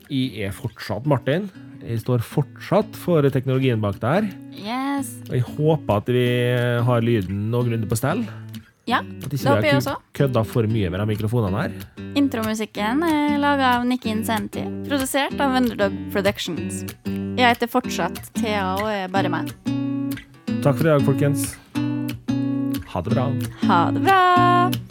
jeg er fortsatt Martin. Jeg står fortsatt for teknologien bak der. Yes. Og jeg håper at vi har lyden noenlunde på stell. Ja, At det ikke håper vi jeg har også. kød- kødda for mye med de mikrofonene her. Intromusikken er laga av Nikki Incenti, produsert av Underdog Productions. Jeg heter fortsatt Thea og er bare meg. Takk for i dag, folkens. Ha det bra. Ha det bra!